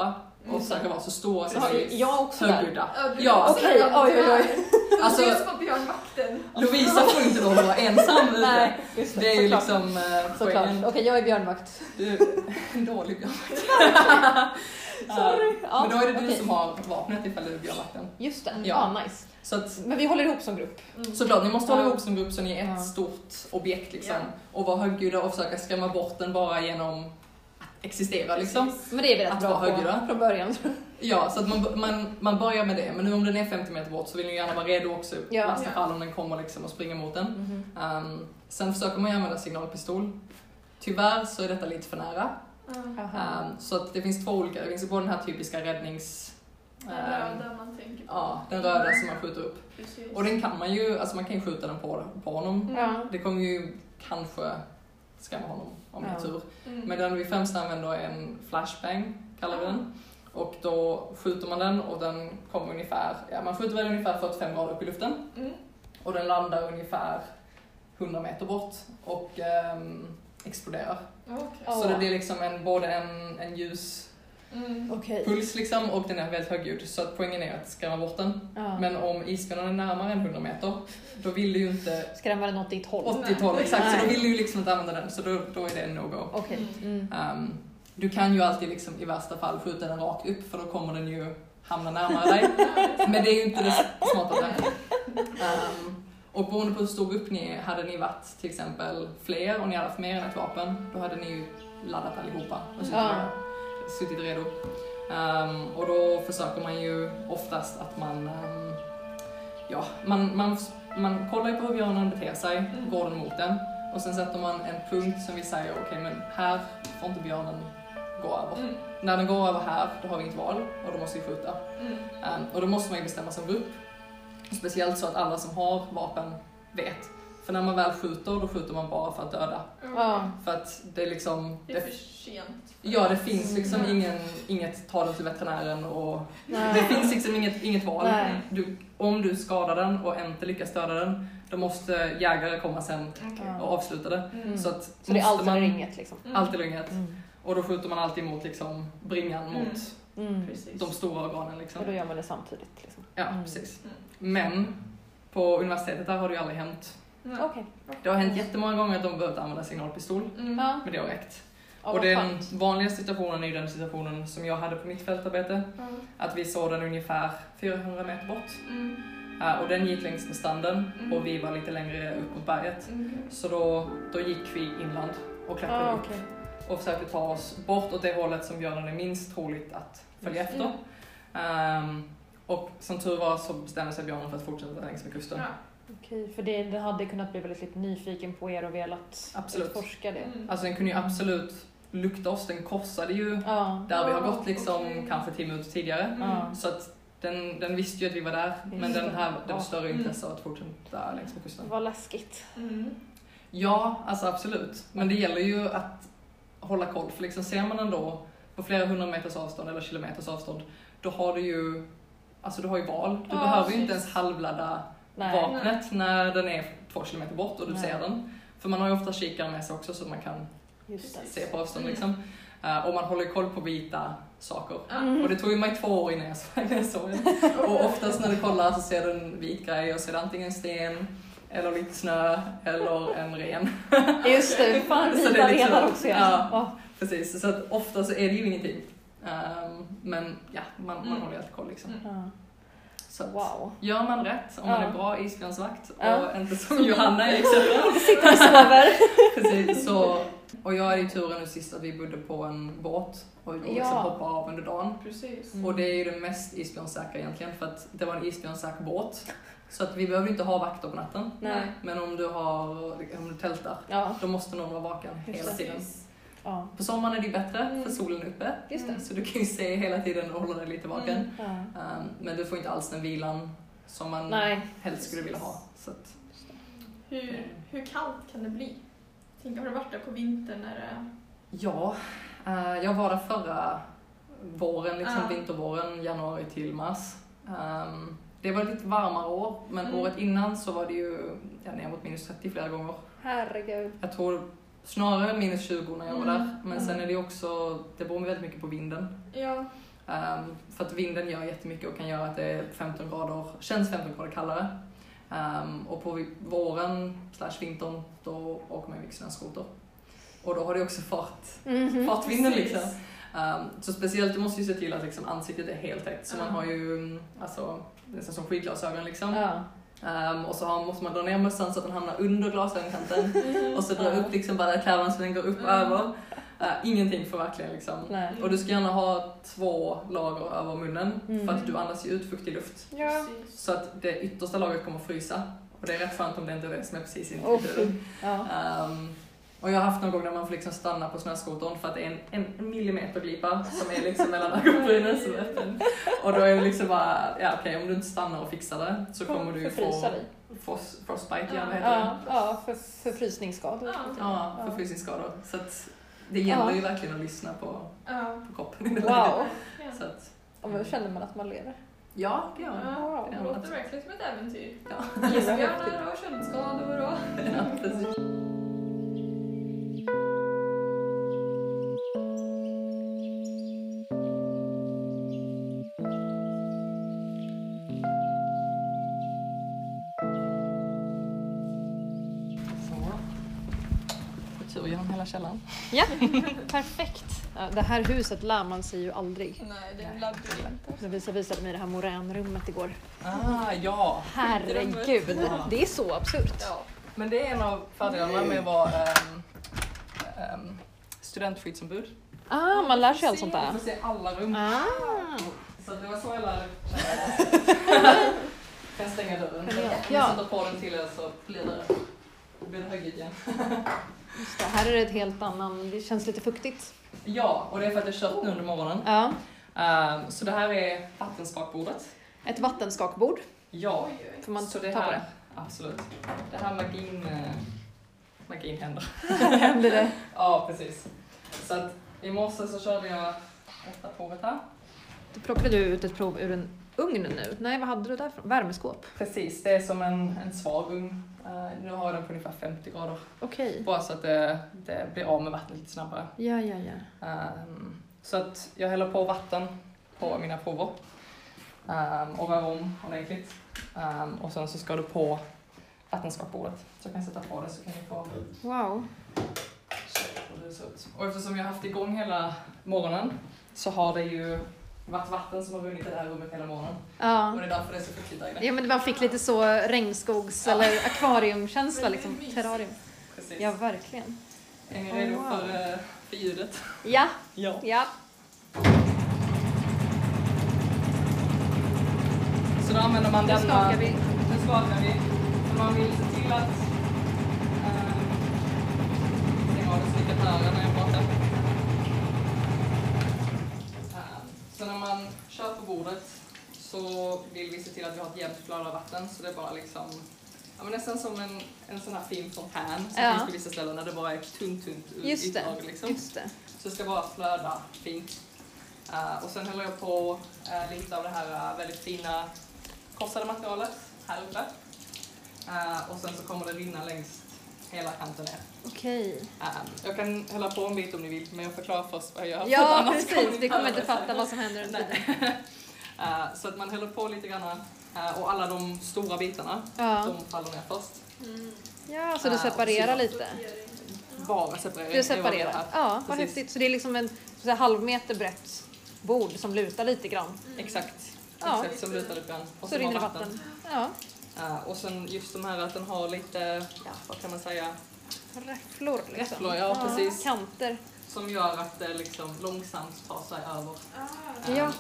E: och försöka vara så stora som
A: Ja,
E: möjligt.
A: Mm. Alltså, Jag också där.
E: Högljudda.
C: Ja, du-
E: Ja.
A: Okej, oj, oj, oj.
E: Alltså-
C: Du ska på björnvakten.
E: Lovisa får inte då vara ensam ute.
A: Nej, just det.
E: Det är ju
A: såklart.
E: liksom eh,
A: Såklart.
E: poängen.
A: Okej, jag är björnvakt.
E: Du är en dålig björnvakt.
A: Sorry. Ja,
E: Men då är det du
A: okej.
E: som har vapnet ifall du är björnvakten.
A: Just det.
E: Ja.
A: Ja, nice.
E: Så att,
A: Men vi håller ihop som grupp.
E: såklart, ni måste hålla
A: Ja.
E: ihop som grupp så ni är ett
A: Ja.
E: stort objekt liksom.
C: Ja.
E: Och vara högljudda och försöka skrämma bort den bara genom att existera liksom.
A: Men det är vi rätt
E: Att
A: bra
E: vara Mm. högljudda.
A: på från början.
E: Ja, så att man, man, man börjar med det. Men nu om den är 50 meter bort så vill ni gärna vara redo också i
A: Ja.
E: värsta
C: Ja.
E: fall om den kommer liksom och springer mot den.
A: Mm-hmm.
E: Ehm, sen försöker man ju använda signalpistol. Tyvärr så är detta lite för nära.
A: Aha.
E: Ehm, så att det finns två olika. Det finns ju både den här typiska räddnings...
C: Den
E: ehm,
C: röda man tänker på.
E: ja, den röda som man skjuter upp.
C: Precis. Mm.
E: Och den kan man ju, alltså man kan ju skjuta den på, på honom.
A: Ja.
E: Det kommer ju kanske skrämma honom om det är
A: Ja.
E: tur.
C: Mm.
E: Men den vi främst använder är en flashbang, kallar vi den. Och då skjuter man den och den kommer ungefär, ja man skjuter väl ungefär 45 grader upp i luften.
C: Mm.
E: Och den landar ungefär 100 meter bort och ehm, exploderar.
C: Okej.
A: Ja.
E: Så det blir liksom en, både en, en ljus Um,
C: Mm.
A: Okej.
E: puls liksom och den är väldigt högljudd så att poängen är att skrämma bort den.
A: Ja.
E: Men om isbjörnen är närmare än 100 meter då vill du ju inte
A: Skrämmer den åt ditt håll?
E: 80-tal exakt så
A: Nej.
E: då vill du ju liksom inte använda den så då, då är det en no-go.
A: Okej. Mm.
E: Ehm, Du kan ju alltid liksom, i värsta fall skjuta den rakt upp för då kommer den ju hamna närmare dig. Men det är ju inte det smartaste. Ehm, och beroende på hur stor grupp ni är, hade ni varit till exempel fler och ni hade haft mer än ett vapen, då hade ni ju laddat allihopa och suttit,
A: Ja.
E: suttit redo. Ehm, och då försöker man ju oftast att man, ehm, ja, man, man, man kollar ju på hur björnen beter sig, går den mot den? Och sen sätter man en punkt som vi säger, okej men här får inte björnen gå över.
D: Mm.
E: När den går över här, då har vi inget val och då måste vi skjuta. Ehm, och då måste man ju bestämma som grupp. Speciellt så att alla som har vapen vet. För när man väl skjuter, då skjuter man bara för att döda.
A: Ja.
E: För att det är liksom...
D: Det är för
E: Det,
D: sent.
E: ja, det finns liksom
D: Mm.
E: ingen, inget ta den till veterinären och... Det
A: Nej.
E: finns liksom inget, inget val.
A: Nej.
E: Du, om du skadar den och inte lyckas döda den, då måste jägare komma sen och avsluta det.
A: Mm.
E: Så, att
F: Så det är
E: måste
F: allt eller
E: man-
F: inget liksom.
D: Mm.
E: Allt eller inget.
A: Mm.
E: Och då skjuter man alltid mot liksom, bringan
D: Mm.
E: mot
A: Mm.
D: Precis.
E: de stora organen. Liksom.
F: Och då gör man det samtidigt. Liksom.
E: Ja,
A: Mm.
E: precis.
D: Mm.
E: Men på universitetet där har det ju aldrig hänt.
D: Nej.
F: Okej.
E: Det har hänt jättemånga gånger att de behövt använda signalpistol,
D: Mm.
F: Ja.
E: men det har räckt.
F: Ja,
E: och
F: vad
E: den
F: skönt.
E: vanliga situationen är ju den situationen som jag hade på mitt fältarbete,
D: Mm.
E: att vi såg den ungefär 400 meter bort.
D: Mm.
E: Eh, Och den gick längs med stranden
D: Mm.
E: och vi var lite längre upp mot berget.
C: Mm.
E: Så då, då gick vi inland och klättrade
F: Ah,
E: upp
F: okej.
E: och försökte ta oss bort åt det hållet som björnen är minst troligt att följa efter.
D: Mm.
E: Ehm, och som tur var så bestämde sig björnen för att fortsätta längs med kusten.
D: Ja.
F: Okej, för det, den hade kunnat bli väldigt lite nyfiken på er och velat
E: Absolut.
F: utforska det.
D: Mm.
E: Alltså den kunde ju absolut lukta oss, den korsade ju
F: Ja.
E: där vi har
D: Ja,
E: gått liksom
D: okej.
E: kanske 10 minuter
C: Mm.
E: tidigare.
F: ja.
E: Så att den, den visste ju att vi var där, men
F: Visste.
E: den här det
F: Ja.
E: var större intresse av att fortsätta längs med kusten.
F: Vad läskigt.
D: Mm.
E: Ja, alltså absolut. Men det gäller ju att hålla koll, för liksom ser man den då på flera hundra meters avstånd eller kilometers avstånd, då har du ju Alltså du har ju val. Du
D: Ja,
E: behöver ju
D: precis.
E: inte ens halvladda
F: Nej.
E: vapnet när den är två kilometer bort och du
F: Nej.
E: ser den. För man har ju ofta kikare med sig också så man kan
F: Just det.
E: se på avstånd
D: Mm.
E: liksom. Eh, och man håller ju koll på vita saker.
D: Ja.
E: Och det tog ju mig två år innan jag såg- innan jag såg den. Och oftast när du kollar så ser du en vit grej och ser det antingen en sten, eller lite snö, eller en ren.
F: Just det, fan
E: Så det är
F: vita
E: liksom-
F: renar också.
E: ja.
F: Ja.
E: Precis, så att ofta så är det ju ingenting. Ehm, men ja, man, man
D: Mm.
E: håller ju alltid koll liksom.
D: Mm.
F: Ja.
E: Så att,
F: Wow.
E: Gör man rätt, om man
F: Ja.
E: är bra isbjörnsvakt och
F: Ja.
E: inte som Johanna är exempel.
F: Sitter och sover.
E: Precis, så, och jag hade ju turen nu sist att vi bodde på en båt och liksom
F: Ja.
E: hoppade av under dagen.
D: Precis.
F: Mm.
E: Och det är ju det mest isbjörnssäkra egentligen för att det var en isbjörnssäker båt. Så att vi behöver inte ha vakter på natten.
F: Nej.
E: Men om du, har, om du tältar,
F: Ja.
E: då måste någon vara vaken
F: Just
E: hela
F: det.
E: tiden.
D: Precis.
F: ja.
E: På sommaren är det ju bättre, för
D: Mm.
E: solen är uppe.
F: Just det.
E: Så du kan ju se hela tiden och hålla dig lite vaken.
D: Mm.
F: Ja.
E: Um, men du får inte alls den vilan som man
F: Nej.
E: helst skulle vilja ha. Så att,
D: Hur, hur kallt kan det bli? Tänk, har du varit där på vintern när det...
E: ja, eh, jag var där förra våren, liksom
D: Ja.
E: vintervåren, januari till mars. Um, det var ett lite varmare år, men
D: Mm.
E: året innan så var det ju ja, ner mot minus 30 flera gånger.
F: Herregud.
E: Jag tror snarare minus 20 när jag var
D: Mm.
E: där. Men sen är det ju också, det beror väldigt mycket på vinden.
D: Ja.
E: Ehm, för att vinden gör jättemycket och kan göra att det är 15 grader, känns 15 grader kallare. Ehm, och på vi- våren slash vintern då åker man ju mycket snöskoter. Och då har det också fart,
F: Mhm.
E: fartvinden
D: Mm, precis.
E: liksom. Ehm, så speciellt, du måste ju se till att liksom ansiktet är helt täckt. Så man
D: Ja.
E: har ju mm, alltså, nästan som skidglasögon liksom.
F: Ja.
E: Ehm, och så har, måste man dra ner mössan så att den hamnar under glasögonkanten. och så dra upp liksom bara kläderna så den går upp
D: Mm.
E: över. Eh, ingenting får verkligen liksom
F: Nej.
E: och du ska gärna ha två lager över munnen
F: Mm.
E: för att du andas ju ut fuktig luft.
F: Ja.
D: Precis.
E: Så att det yttersta lagret kommer att frysa. Och det är rätt skönt om det inte är det som är precis intill
F: Åh, fy.
E: huden.
F: Ja.
E: Ehm, och jag har haft någon gång när man får liksom stanna på snöskotern för att det är en, en millimeterglipa som är liksom mellan ögonbrynen som är öppen. Och då är det liksom bara, ja okej om du inte stannar och fixar det så kommer du ju få
F: Förfrysa dig.
E: frost, frostbite, ja, vad heter det?
F: Ja, ja för, förfrysningsskysskador.
D: Ja.
E: Ja,
F: Ja.
E: förfrysningsskador. Så att det gäller
F: Ja.
E: ju verkligen att lyssna på,
D: Ja.
E: på kroppen i det läget.
F: Wow!
D: verkligen.
E: Så att,
F: Och då känner man att man lever.
E: ja, det gör jag.
D: Ja, det
E: Ja.
D: låter verkligen som ett äventyr.
E: Ja.
D: Isbjörnar och köldskador och...
E: Ja, precis. Så. Då tur genom hela källaren.
A: Ja, perfekt. Ja, det här huset lär man sig ju aldrig.
C: Nej, det är en labyrint.
A: Lovisa visade mig det här moränrummet igår.
E: Ah, ja.
A: Herregud, det är så absurt.
C: Ja.
E: Men det är en av fördelarna med att vara ehm, ehm, studentskyddsombud.
A: Ah, man lär sig allt sånt
E: Du
A: där.
E: får se alla rum.
A: Ah.
E: Så det var så jag lärde Kan stänga dörren.
A: Ja.
E: Om jag sätter på den till er så blir det, blir det högljutt igen.
A: Just det, här är det ett helt annan, det känns lite fuktigt.
E: Ja, och det är för att jag kört nu under morgonen.
A: Ja.
E: Ehm, så det här är vattenspakbordet.
A: Ett vattenskakbord,
E: Ja,
A: får man
E: så
A: ta
E: det
A: på
E: här,
A: det?
E: absolut. Det här magin, eh, magin händer.
A: Händer det?
E: Ja, precis. Så att i morse så körde jag åtta provet här.
A: Då plockade du ut ett prov ur en ugn nu. Nej, vad hade du där? för- Värmeskåp?
E: Precis, det är som en, en svag ugn. Eh, nu har jag den på ungefär 50 grader.
A: Okej.
E: Bara så att det, det blir av med vattnet lite snabbare.
A: Ja, ja, ja.
E: Ehm, så att jag häller på vatten på mina prover. Um, och väver om ordentligt. Ehm, och sen så ska du på vattenskakbordet. Så jag kan sätta på det så kan ni få
A: Wow.
E: se hur det ser ut. Och eftersom jag har haft igång hela morgonen så har det ju varit vatten som har runnit i det här rummet hela morgonen. Och
A: Ja.
E: det är därför det är så fuktigt där inne.
A: ja, men man fick lite så regnskogs eller akvariumkänsla liksom. Terrarium.
E: Precis.
A: Ja, verkligen.
E: Är ni redo
A: Oh, wow.
E: för, eh, för ljudet?
A: Ja,
E: Ja.
A: ja.
E: Så då använder man
A: Nu
E: denna...
A: skakar vi.
E: Nu skakar vi. Men man vill se till att... ehm, Stäng av det så mycket här när jag pratar. Ehm, Så när man kör på bordet så vill vi se till att vi har ett jämnt flöde av vatten så det är bara liksom Ja, men nästan som en, en sån här fin fontän som
A: Ja.
E: finns på vissa ställen där det bara är ett tunt, tunt ut-
A: Just det.
E: uttag. Liksom.
A: Just det.
E: Så det ska bara flöda fint. Eh, och sen häller jag på eh, lite av det här eh, väldigt fina korsade materialet här uppe. Eh, och sen så kommer det rinna längs hela kanten ner.
A: Okej.
E: Eh, jag kan hälla på en bit om ni vill, men jag förklarar först vad jag gör. för
A: Ja,
E: annars
A: precis.
E: ni
A: Vi kommer inte
E: höra
A: fatta vad som händer under tiden.
E: Nej. Eh, så att man häller på lite grann eh, och alla de stora bitarna,
A: Ja.
E: de faller ner först.
D: Mm.
A: ja, så du
E: Ah, och
A: separerar
E: syra.
A: lite.
E: Bara separering.
A: Du
E: det är vad vi gör
A: separerar.
E: här.
A: Ja, vad
E: Precis.
A: häftigt. Så det är liksom en så här, halvmeter brett bord som lutar lite grann.
E: Mm. Exakt.
A: Ja.
E: Exakt, som lutar upp igen. Och
A: Så
E: sen har
A: rinner vatten. Ja.
E: Eh, och sen just de här att den har lite, ja, vad kan man säga,
A: Räfflor liksom.
E: Räfflor, ja, precis.
A: Kanter.
E: som gör att det liksom långsamt tar sig över.
D: Mm. Ah,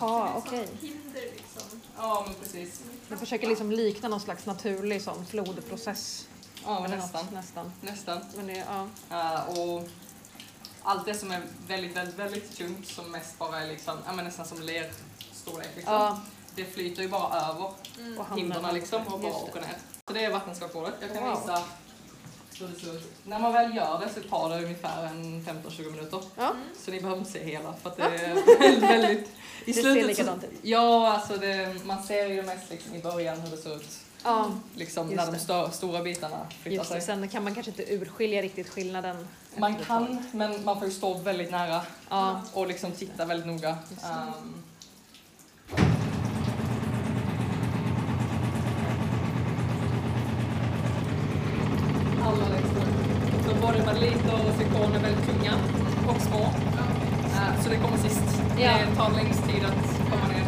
A: Jaha, okej.
C: Hinder liksom.
E: Ja, men precis.
A: Jag försöker liksom likna någon slags naturlig sån flodprocess.
E: Ja, men
A: Eller
E: nästan.
A: något, nästan.
E: Nästan.
A: Men det, ja.
E: Eh, och allt det som är väldigt, väldigt, väldigt tungt som mest bara är liksom, ja, men nästan som lerstorlek liksom.
A: ja.
E: Det flyter ju bara över
D: Mm.
A: Och hamnar-
E: hindren liksom och bara
A: Just det.
E: åker ner. Så det är vattenskakbordet. Jag kan
A: Wow.
E: visa hur det ser ut. När man väl gör det så tar det ungefär en 15-20 minuter.
A: Ja.
D: Mm.
E: Så ni behöver inte se hela för att det är väldigt, väldigt... I
A: Det ser
E: så-
A: likadant ut.
E: Ja, alltså det, man ser ju mest liksom i början hur det ser ut.
A: ja.
E: Liksom
A: Just
E: när
A: det.
E: de stö- stora bitarna flyttar
A: Just det.
E: sig.
A: Sen kan man kanske inte urskilja riktigt skillnaden.
E: Man kan, men man får ju stå väldigt nära
A: Ja.
E: och liksom titta väldigt noga. Ehm, alla växter. Så både marliter och zirkon är väldigt tunga och små. Eh, Så det kommer sist.
A: Ja.
E: Det tar längst tid att komma ner.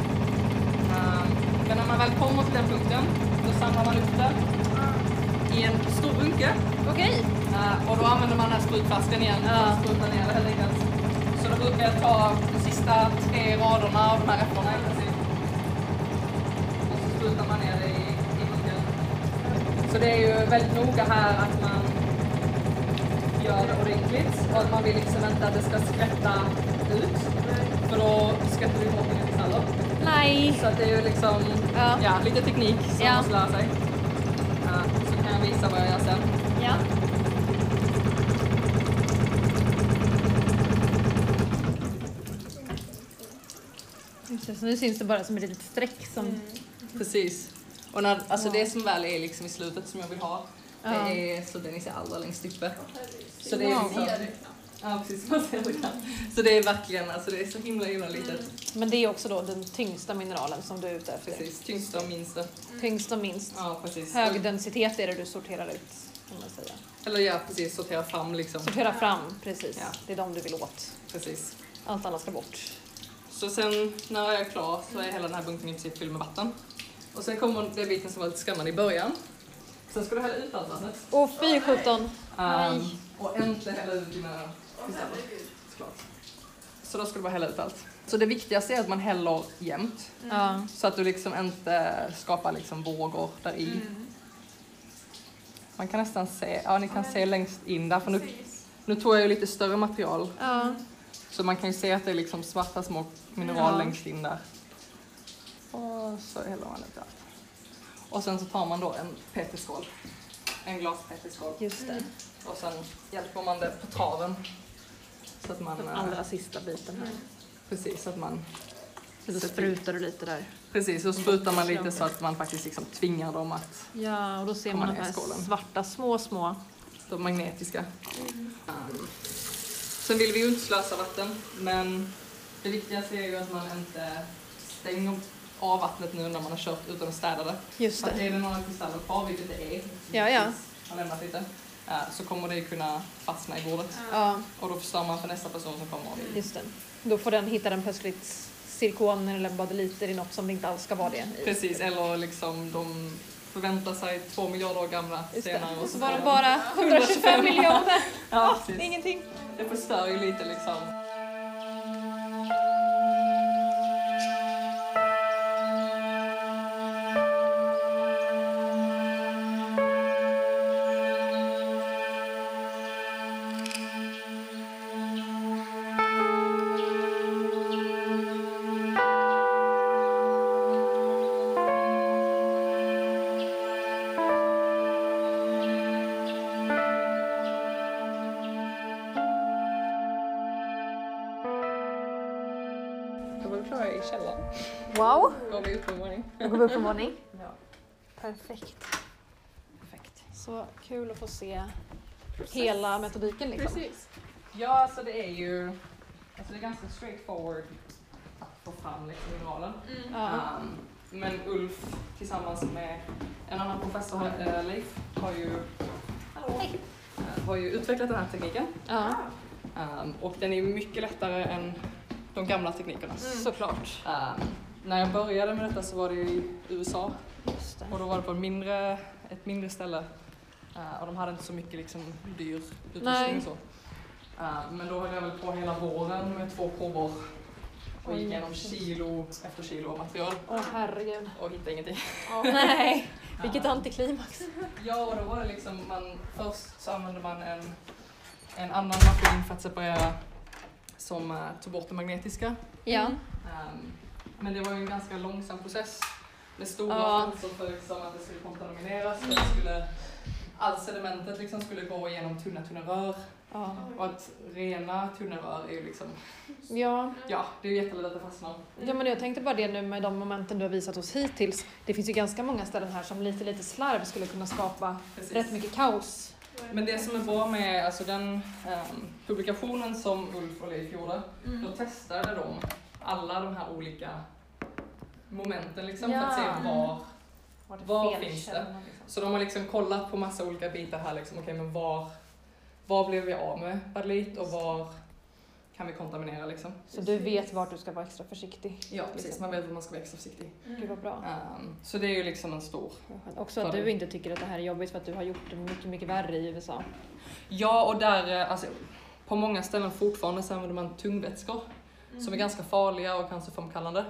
E: Eh, Men när man väl kommer till den punkten, då samlar man upp det i en stor bunke.
A: Okej.
E: Eh, Och då använder man den här sprutflaskan igen för att spruta ner det helt enkelt. Så då brukar jag ta de sista tre raderna av de här äpplena i princip. Och så sprutar man ner det i, i bunken. Så det är ju väldigt noga här att man gör det ordentligt och att man vill liksom inte att det ska skvätta ut. För då skvätter vi bort det heller.
A: Nej.
E: Så att det är ju liksom
A: Ja.
E: ja. lite teknik som
A: Ja.
E: man måste lära sig. Ja, så kan jag visa vad jag gör sen.
A: Ja. Just det, så nu syns det bara som ett litet streck som...
E: Precis. Och när, alltså det som väl är liksom i slutet som jag vill ha,
A: Ja.
E: det är så den är allra längst uppe. Så det är
A: Wow.
E: liksom,
D: Mm.
E: ja, precis, man ser det knappt. Så det är verkligen, alltså det är så himla himla litet.
D: Mm.
A: Men det är också då den tyngsta mineralen som du är ute efter.
E: Precis, tyngsta och minsta.
A: Tyngst och minst.
E: Ja, precis.
A: Hög densitet är det du sorterar ut. kan man säga.
E: Eller ja, precis, sortera fram liksom.
A: Sortera fram, precis.
E: Ja.
A: Det är de du vill åt.
E: Precis.
A: Allt annat ska bort.
E: Så sen när jag är klar så är hela den här bunken i princip fylld med vatten. Och sen kommer den biten som var lite skrämmande i början. Sen ska du hälla ut allt vattnet.
A: Åh fy sjutton!
E: Ehm,
A: Nej.
E: och äntligen hälla ut dina kristaller. Såklart. Så då ska du bara hälla ut allt. Så det viktigaste är att man häller jämnt.
A: Mm.
D: Mm.
G: Ja.
E: Så att du liksom inte skapar liksom vågor där i.
C: Mm.
E: Man kan nästan se, ja ni kan se längst in där för nu, nu tog jag ju lite större material
G: Ja.
E: så man kan ju se att det är liksom svarta små mineral
G: Ja.
E: längst in där. Och så häller man ut allt. Och sen så tar man då en peteskål, en glaspeteskål
A: Just det,
E: och sen hjälper man det på traven. Så att man,
A: den
E: eh,
A: allra sista biten här.
E: precis, så att man,
A: Så då sprutar du lite där.
E: precis, så sprutar man lite så att man faktiskt liksom tvingar dem att
A: Ja, och då ser
E: Kommer
A: man de
E: ner i
A: här
E: skålen.
A: svarta små, små.
E: De magnetiska.
A: Mm.
E: Um, sen vill vi ju inte slösa vatten, men det viktigaste är ju att man inte stänger av vattnet nu när man har kört utan att städa det.
A: Just
E: Så att
A: det.
E: är det några kristaller kvar, vilket det är,
A: Ja, ja.
E: har lämnat lite, eh, så kommer det ju kunna fastna i bordet
A: Ja,
E: och då förstör man för nästa person som kommer och vill.
A: just det. Då får den hitta den plötsligt cirkoner eller badeliter i något som det inte alls ska vara det i.
E: Precis, eller liksom de förväntar sig två miljarder år gamla
A: Just
E: senare.
A: det.
E: och
A: Och så
E: får
A: var
E: de-
A: de bara Ah, 125 miljoner.
E: Ja,
A: Det är
E: precis.
A: ingenting.
E: Det förstör ju lite liksom. Då var vi klara i källaren.
A: Wow!
E: Går vi upp en våning.
A: Nu går vi upp en våning.
E: Ja.
A: Perfekt. Perfekt. Så kul att få se hela metodiken liksom.
C: Precis.
E: Ja, alltså det är ju alltså det är ganska straightforward att få fram liksom mineralen.
A: Ja.
E: Um, men Ulf tillsammans med en annan professor, eh, Leif, har ju, hallå, Eh, har ju utvecklat den här tekniken.
A: ja.
E: Um, och den är mycket lättare än de gamla teknikerna.
A: Mm. Såklart.
E: Um, när jag började med detta så var det ju i USA
A: Just det.
E: och då var det på en mindre, ett mindre ställe Eh, och de hade inte så mycket liksom, dyr utrustning
A: Nej.
E: och så. Eh, men då höll jag väl på hela våren med två prover och
A: Oj.
E: gick igenom kilo efter kilo av material
A: Åh herregud.
E: och hittade ingenting. Eh,
A: nej, vilket antiklimax.
E: Ja, och då var det liksom man, först så använde man en, en annan maskin för att separera som eh, tog bort det magnetiska.
A: Ja.
E: Ehm, men det var ju en ganska långsam process med stora
A: Ja.
E: fönster för liksom att det skulle kontamineras. för att det skulle, allt sedimentet liksom skulle gå igenom tunna, tunna rör.
A: Ja.
E: Och att rena tunna rör är ju liksom,
A: ja.
E: ja, det är ju jättelätt att det fastnar.
A: Ja, men
E: Mm.
A: jag tänkte bara det nu med de momenten du har visat oss hittills. Det finns ju ganska många ställen här som lite, lite slarv skulle kunna skapa
E: Precis.
A: rätt mycket kaos.
E: Men det som är bra med alltså den ehm, publikationen som Ulf och Leif gjorde, då testade de alla de här olika momenten liksom för att se
A: Ja.
E: var
A: Var det
E: Var
A: fel
E: finns det?
A: källor, liksom?
E: Så de har liksom kollat på massa olika bitar här, liksom, okej men var, var blev vi av med balit och var kan vi kontaminera liksom?
A: Så du vet vart du ska vara extra försiktig.
E: Ja precis, man vet att man ska vara extra försiktig.
A: Gud vad bra.
E: Ehm, så det är ju liksom en stor.
A: Också att du inte tycker att det här är jobbigt för att du har gjort det mycket, mycket värre i USA.
E: Ja och där, eh, alltså, på många ställen fortfarande så använder man tungvätskor som är ganska farliga och cancerframkallande.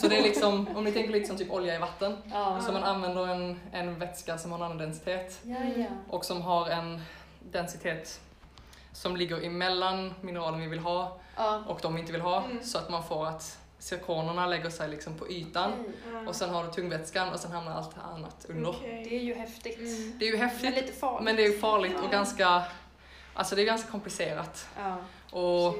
E: Så det är liksom, om ni tänker lite som typ olja i vatten,
A: Ja.
E: så man Mm. använder en, en vätska som har en annan densitet
A: Ja, ja.
E: och som har en densitet som ligger emellan mineralen vi vill ha
A: Ja.
E: och de vi inte vill ha
A: Mm.
E: så att man får att zirkonerna lägger sig liksom på ytan
A: Mm.
E: och sen har du tungvätskan och sen hamnar allt här annat
C: Mm.
E: under.
A: Det är ju häftigt.
E: Det är ju häftigt
A: lite farligt.
E: Mm. men det är ju farligt och ganska Alltså det är ganska komplicerat
A: Ja.
E: och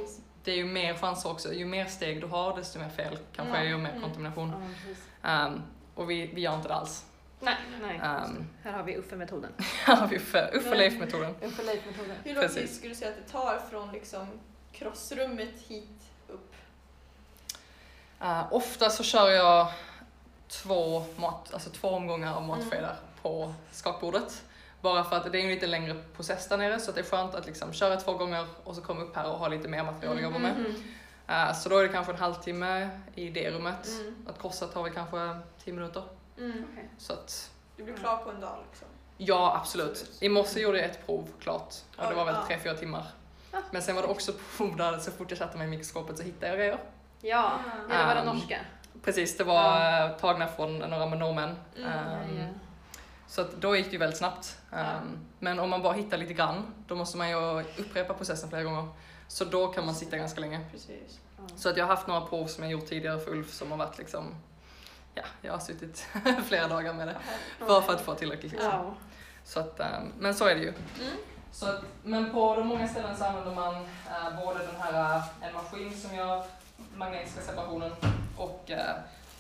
E: det är ju mer chanser också. Ju mer steg du har desto mer fel kan ske och mer
A: Mm.
E: kontamination.
A: Ja, precis.
E: Ehm, och vi, vi gör inte det alls.
A: Nej, nej.
E: Um,
A: Här har vi Uffe-metoden.
E: här har vi Uffe- Uffe Leif-metoden.
A: Uffe-Leif-metoden.
C: Hur lång tid
E: Precis.
C: skulle du säga att det tar från liksom krossrummet hit upp?
E: Eh, ofta så kör jag två, mat, alltså två omgångar av matskedar på skakbordet Bara för att det är ju en lite längre process där nere så att det är skönt att liksom köra två gånger och så komma upp här och ha lite mer material att jobba
C: Mm.
E: med. Eh, Så då är det kanske en halvtimme i det rummet.
D: Mm.
E: Att korsa tar väl kanske 10 minuter.
A: Mm.
C: Okej.
E: Så att,
C: Du blir klar på en dag liksom.
E: ja absolut. I morse gjorde jag ett prov klart och det var väl
C: Ja.
E: 3-4 timmar.
A: Ah.
E: Men sen var det också prov där så fort jag satte mig i mikroskopet så hittade jag grejer.
A: Ja,
C: Mm.
A: eller var det
E: Um,
A: norska?
E: Precis, det var eh, tagna från några norrmän.
C: Mm,
E: Ehm,
A: ja.
E: Så att då gick det ju väldigt snabbt. Ehm, Men om man bara hittar lite grann, då måste man ju upprepa processen flera gånger. Så då kan man sitta ganska länge.
C: Precis.
E: Så att jag har haft några prov som jag gjort tidigare för Ulf som har varit liksom, ja, jag har suttit flera dagar med det. Bara för att få tillräckligt liksom.
F: Wow.
E: Så att, ehm, men så är det ju. Så att, men på de många ställen så använder man eh, både den här, eh, en maskin som gör magnetiska separationen och eh,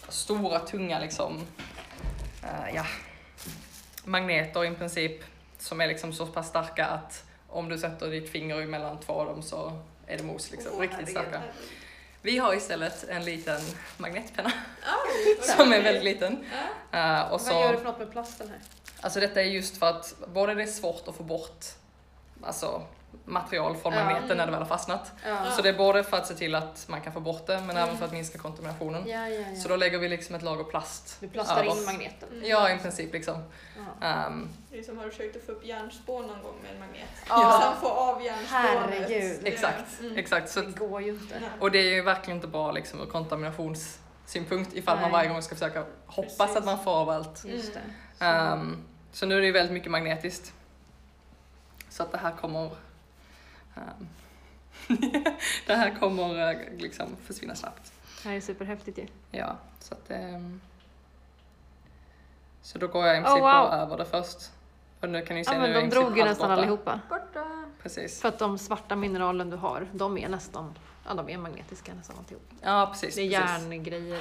E: stora tunga liksom, eh, ja, magneter i princip som är liksom så pass starka att om du sätter ditt finger emellan två av dem så är det mos liksom,
C: Åh,
E: riktigt
C: herregud.
E: starka. Vi har istället en liten magnetpenna
C: Oj, vad
E: som är
C: roligt.
E: väldigt liten. Eh, och
F: Vad gör
E: så,
F: du för något med plasten här?
E: Alltså detta är just för att både det är svårt att få bort alltså, material från
F: Ja.
E: magneten när det väl har fastnat.
F: Ja. Mm.
E: Så det är både för att se till att man kan få bort det men även för att minska kontaminationen.
F: Ja, ja,
E: Så
F: ja.
E: då lägger vi liksom ett lager plast
F: Du plastar
E: över.
F: in magneten.
C: Mm.
E: Ja, i princip liksom.
F: Ja.
E: Ehm,
C: Det är som har du försökt att få upp hjärnspår någon gång med en magnet.
F: Ja.
C: Sen få av hjärnspåret.
F: Herregud.
C: Det-
E: Exakt,
C: Mm.
E: exakt. Så,
F: Det går ju inte.
C: Nej.
E: och det är ju verkligen inte bra liksom, ur kontaminationssynpunkt ifall man
F: Nej.
E: varje gång ska försöka hoppas
C: Precis.
E: att man får av allt.
F: Just
C: Mm.
F: det.
E: Ehm, så nu är det ju väldigt mycket magnetiskt. Så att det här kommer... ehm, det här kommer eh, liksom försvinna snabbt.
F: Det här är superhäftigt ju.
E: Ja, så att... ehm, så då går jag i
F: Oh,
E: princip bara
F: wow.
E: över det först. Och nu kan ni se,
F: Ja,
E: nu
F: men
E: är jag i
F: de
E: princip
F: drog ju
E: halvt
F: nästan
E: borta.
F: allihopa.
E: Precis.
F: För att de svarta mineralen du har, de är nästan, ja de är magnetiska nästan alltihop.
E: Ja, precis.
F: Det är
E: precis.
F: järngrejer,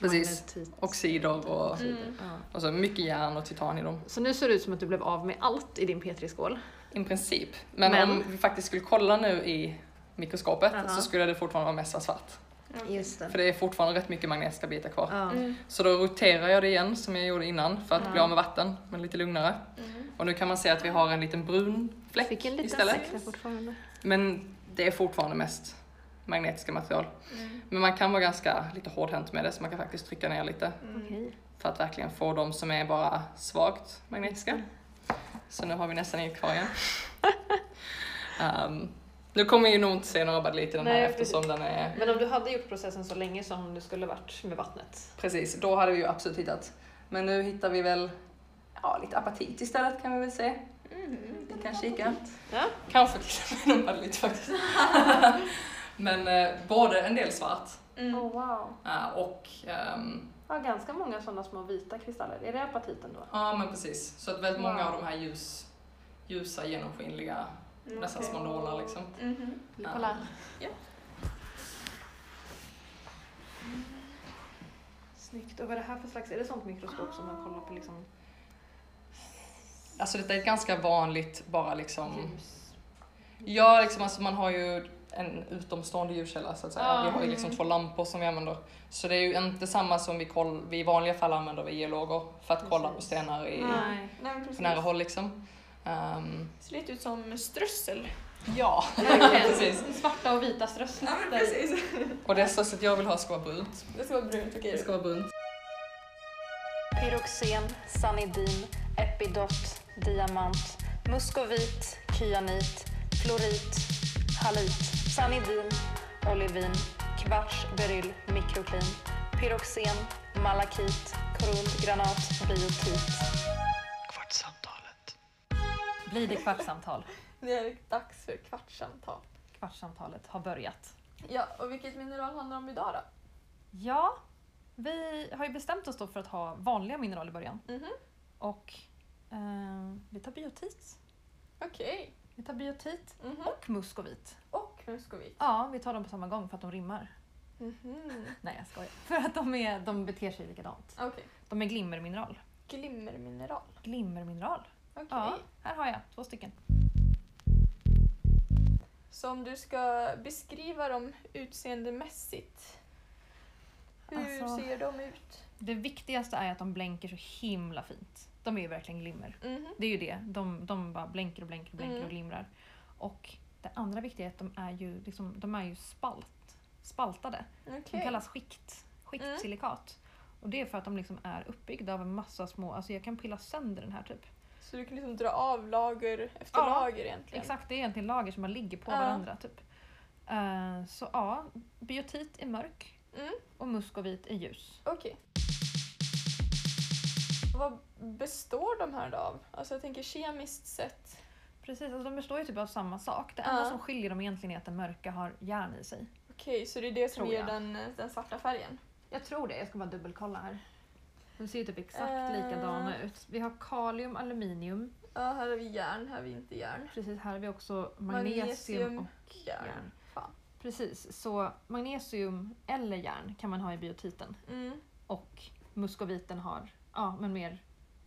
E: Precis.
F: magnetit.
E: Oxider och,
C: Mm.
F: Ja.
E: och så mycket järn och titan i dem.
F: Så nu ser det ut som att du blev av med allt i din P3-skål.
E: I princip. Men,
F: Men-
E: om vi faktiskt skulle kolla nu i mikroskopet
F: Aha.
E: så skulle det fortfarande vara mest vara svart.
F: Just det.
E: För det är fortfarande rätt mycket magnetiska bitar kvar.
F: Ja.
C: Mm.
E: Så då roterar jag det igen som jag gjorde innan för att bli
F: Ja.
E: av med vatten, men lite lugnare.
C: Mm.
E: Och nu kan man se att vi har en liten brun fläck
F: Fick en liten
E: istället. Mm.
F: säck fortfarande.
E: Men det är fortfarande mest magnetiska material.
C: Mm.
E: Men man kan vara ganska lite hårdhänt med det så man kan faktiskt trycka ner lite
F: Okej.
E: för att verkligen få de som är bara svagt magnetiska. Så nu har vi nästan inget kvar igen. Ehm, nu kommer jag ju nog inte se några badeliter i den här
F: Nej,
E: eftersom den är
F: Men om du hade gjort processen så länge som du skulle varit med vattnet.
E: Precis, då hade vi ju absolut hittat. Men nu hittar vi väl ja, lite apatit istället kan vi väl se.
F: Mm.
E: Vi kan kika.
F: Ja.
E: Kanske till och med någon badelit faktiskt. Men eh, både en del svart
C: Mm.
F: Oh, wow.
E: eh, och ehm,
F: Ja, ganska många sådana små vita kristaller. Är det apatiten då?
E: ja men precis. Så att väldigt många
F: Wow.
E: av de här ljus, ljusa genomskinliga
C: Mm,
E: nästan
C: okej.
E: små nålar liksom.
C: Mhm.
E: Ja.
F: Kolla.
C: Ja.
F: Snyggt. Och vad är det här för slags? Är det sånt mikroskop som man kollar på liksom
E: Alltså detta är ett ganska vanligt bara liksom
F: ljus?
E: Ja, liksom, alltså, man har ju en utomstående ljuskälla så att säga.
F: Ja.
E: Vi har ju liksom
C: Mm.
E: två lampor som vi använder. Så det är ju inte samma som vi, koll, vi i vanliga fall använder vi geologer för att kolla på
F: Precis.
E: stenar i,
F: Nej.
C: Nej, men precis.
E: på nära håll. Liksom. Ehm,
C: Ser lite ut som strössel.
E: ja,
F: Verkligen.
E: precis.
F: Svarta och vita strössel.
C: Ja, men precis.
E: Och det största jag vill ha ska vara brunt.
C: Det ska vara brunt. Okej.
E: Det ska vara brunt.
H: Pyroxen, sanidin, epidot, diamant, muskovit, kyanit, florit, halit, sanidin, olivin, kvarts, beryl, mikroklin, pyroxen, malakit, korundgranat, biotit.
A: Blir det kvartssamtal?
C: Det är dags för kvartssamtal.
A: Kvartssamtalet har börjat.
C: Ja, och vilket mineral handlar om idag då?
A: Ja, vi har ju bestämt oss då för att ha vanliga mineral i början.
C: Mhm.
A: Och eh, vi tar biotit.
C: Okej.
A: Vi tar biotit
C: Mhm.
A: och muskovit.
C: Och muskovit.
A: Ja, vi tar dem på samma gång för att de rimmar.
C: Mm-hmm.
A: Nej, jag skojar. För att de, är, de beter sig likadant.
C: Okej.
A: De är glimmermineral.
C: Glimmermineral.
A: Glimmermineral.
C: Okej.
A: Ja, här har jag två stycken.
C: Så om du ska beskriva dem utseendemässigt, hur
A: Alltså-
C: ser de ut?
A: Det viktigaste är att de blänker så himla fint. de är ju verkligen glimmer.
C: Mhm.
A: Det är ju det, de, de bara blänker och blänker och blänker
C: Mm.
A: och glimrar. Och det andra viktiga är att de är ju, liksom, de är ju spalt, spaltade. De
C: Okej.
A: kallas skikt, skiktsilikat. Och det är för att de liksom är uppbyggda av en massa små, alltså jag kan pilla sönder den här typ.
C: Så du kan liksom dra av lager efter
A: Ja,
C: lager egentligen?
A: Exakt, det är egentligen lager som bara ligger på
C: Ja.
A: varandra typ. Eh, så ja, biotit är mörk
C: Mm.
A: och muskovit är ljus.
C: Okej. Vad består de här då av? Alltså jag tänker kemiskt sett.
A: Precis, alltså de består ju typ av samma sak. Det
C: Ja.
A: enda som skiljer dem egentligen är att den mörka har järn i sig.
C: Okej, så det är det som
A: Tror
C: ger
A: jag.
C: den, den svarta färgen?
A: Jag tror det, jag ska bara dubbelkolla här. De ser ju typ exakt
C: Eh.
A: likadana ut. Vi har kalium, aluminium.
C: Ja, här har vi järn, här har vi inte järn.
A: Precis, här har vi också magnesium,
C: Magnesium,
A: och
C: järn.
A: järn.
C: Fan.
A: Precis, så magnesium eller järn kan man ha i biotiten.
C: Mm.
A: Och muskoviten har, ja men mer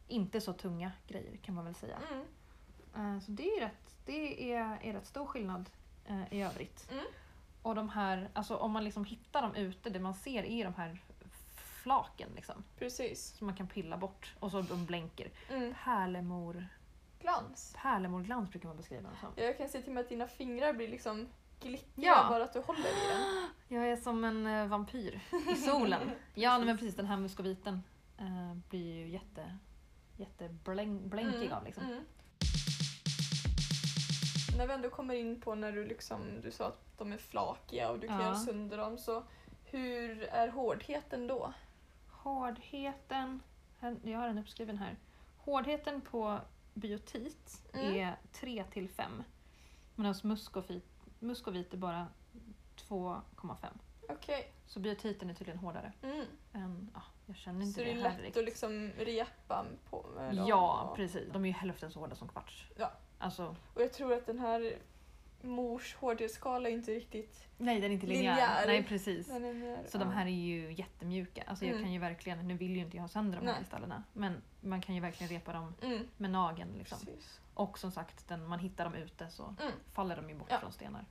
A: inte så tunga grejer kan man väl säga.
C: Mm.
A: Eh, Så det är, ju rätt, det är, är rätt stor skillnad eh, i övrigt.
C: Mm.
A: Och de här, alltså om man liksom hittar dem ute, det man ser är de här flaken liksom.
C: Precis.
A: Som man kan pilla bort och så de blänker.
C: Mm.
A: Pärlemor,
C: Glans.
A: pärlemorglans brukar man beskriva dem som.
C: Ja, Jag kan se till och med att dina fingrar blir liksom glittriga
A: Ja.
C: bara att du håller i den.
A: Jag är som en eh, vampyr i solen. ja, nej, men precis den här muskoviten eh, blir ju jätte, jätteblänkig av liksom.
C: Mm. När vi ändå kommer in på när du liksom, du sa att de är flakiga och du kan
A: Ja.
C: göra sönder dem, så hur är hårdheten då?
A: Hårdheten, här- jag har den uppskriven här. Hårdheten på biotit
C: Mm.
A: är 3 till 5. Medan muskovit, muskovit är bara 2,5.
C: Okej.
A: Så biotiten är tydligen hårdare.
C: Mm.
A: Än, ja, jag känner
C: Så
A: inte
C: det är
A: det
C: lätt
A: här
C: att
A: riktigt.
C: liksom repa på med dem
A: Ja,
C: och-
A: precis. De är ju hälften så hårda som kvarts.
C: Ja.
A: Alltså,
C: Och jag tror att den här mors hårdhetsskala är inte riktigt...
A: nej den är inte linjär.
C: Linjär.
A: Nej, precis.
C: Den är mer,
A: Så de här är ju jättemjuka. Alltså jag
C: Mm.
A: kan ju verkligen, nu vill ju inte jag ha sönder de här
C: Nej.
A: ställena, men man kan ju verkligen repa dem
C: Mm,
A: med nageln. Liksom.
C: precis.
A: Och som sagt, den, man hittar dem ute så
C: Mm.
A: faller de ju bort
C: Ja.
A: från stenar.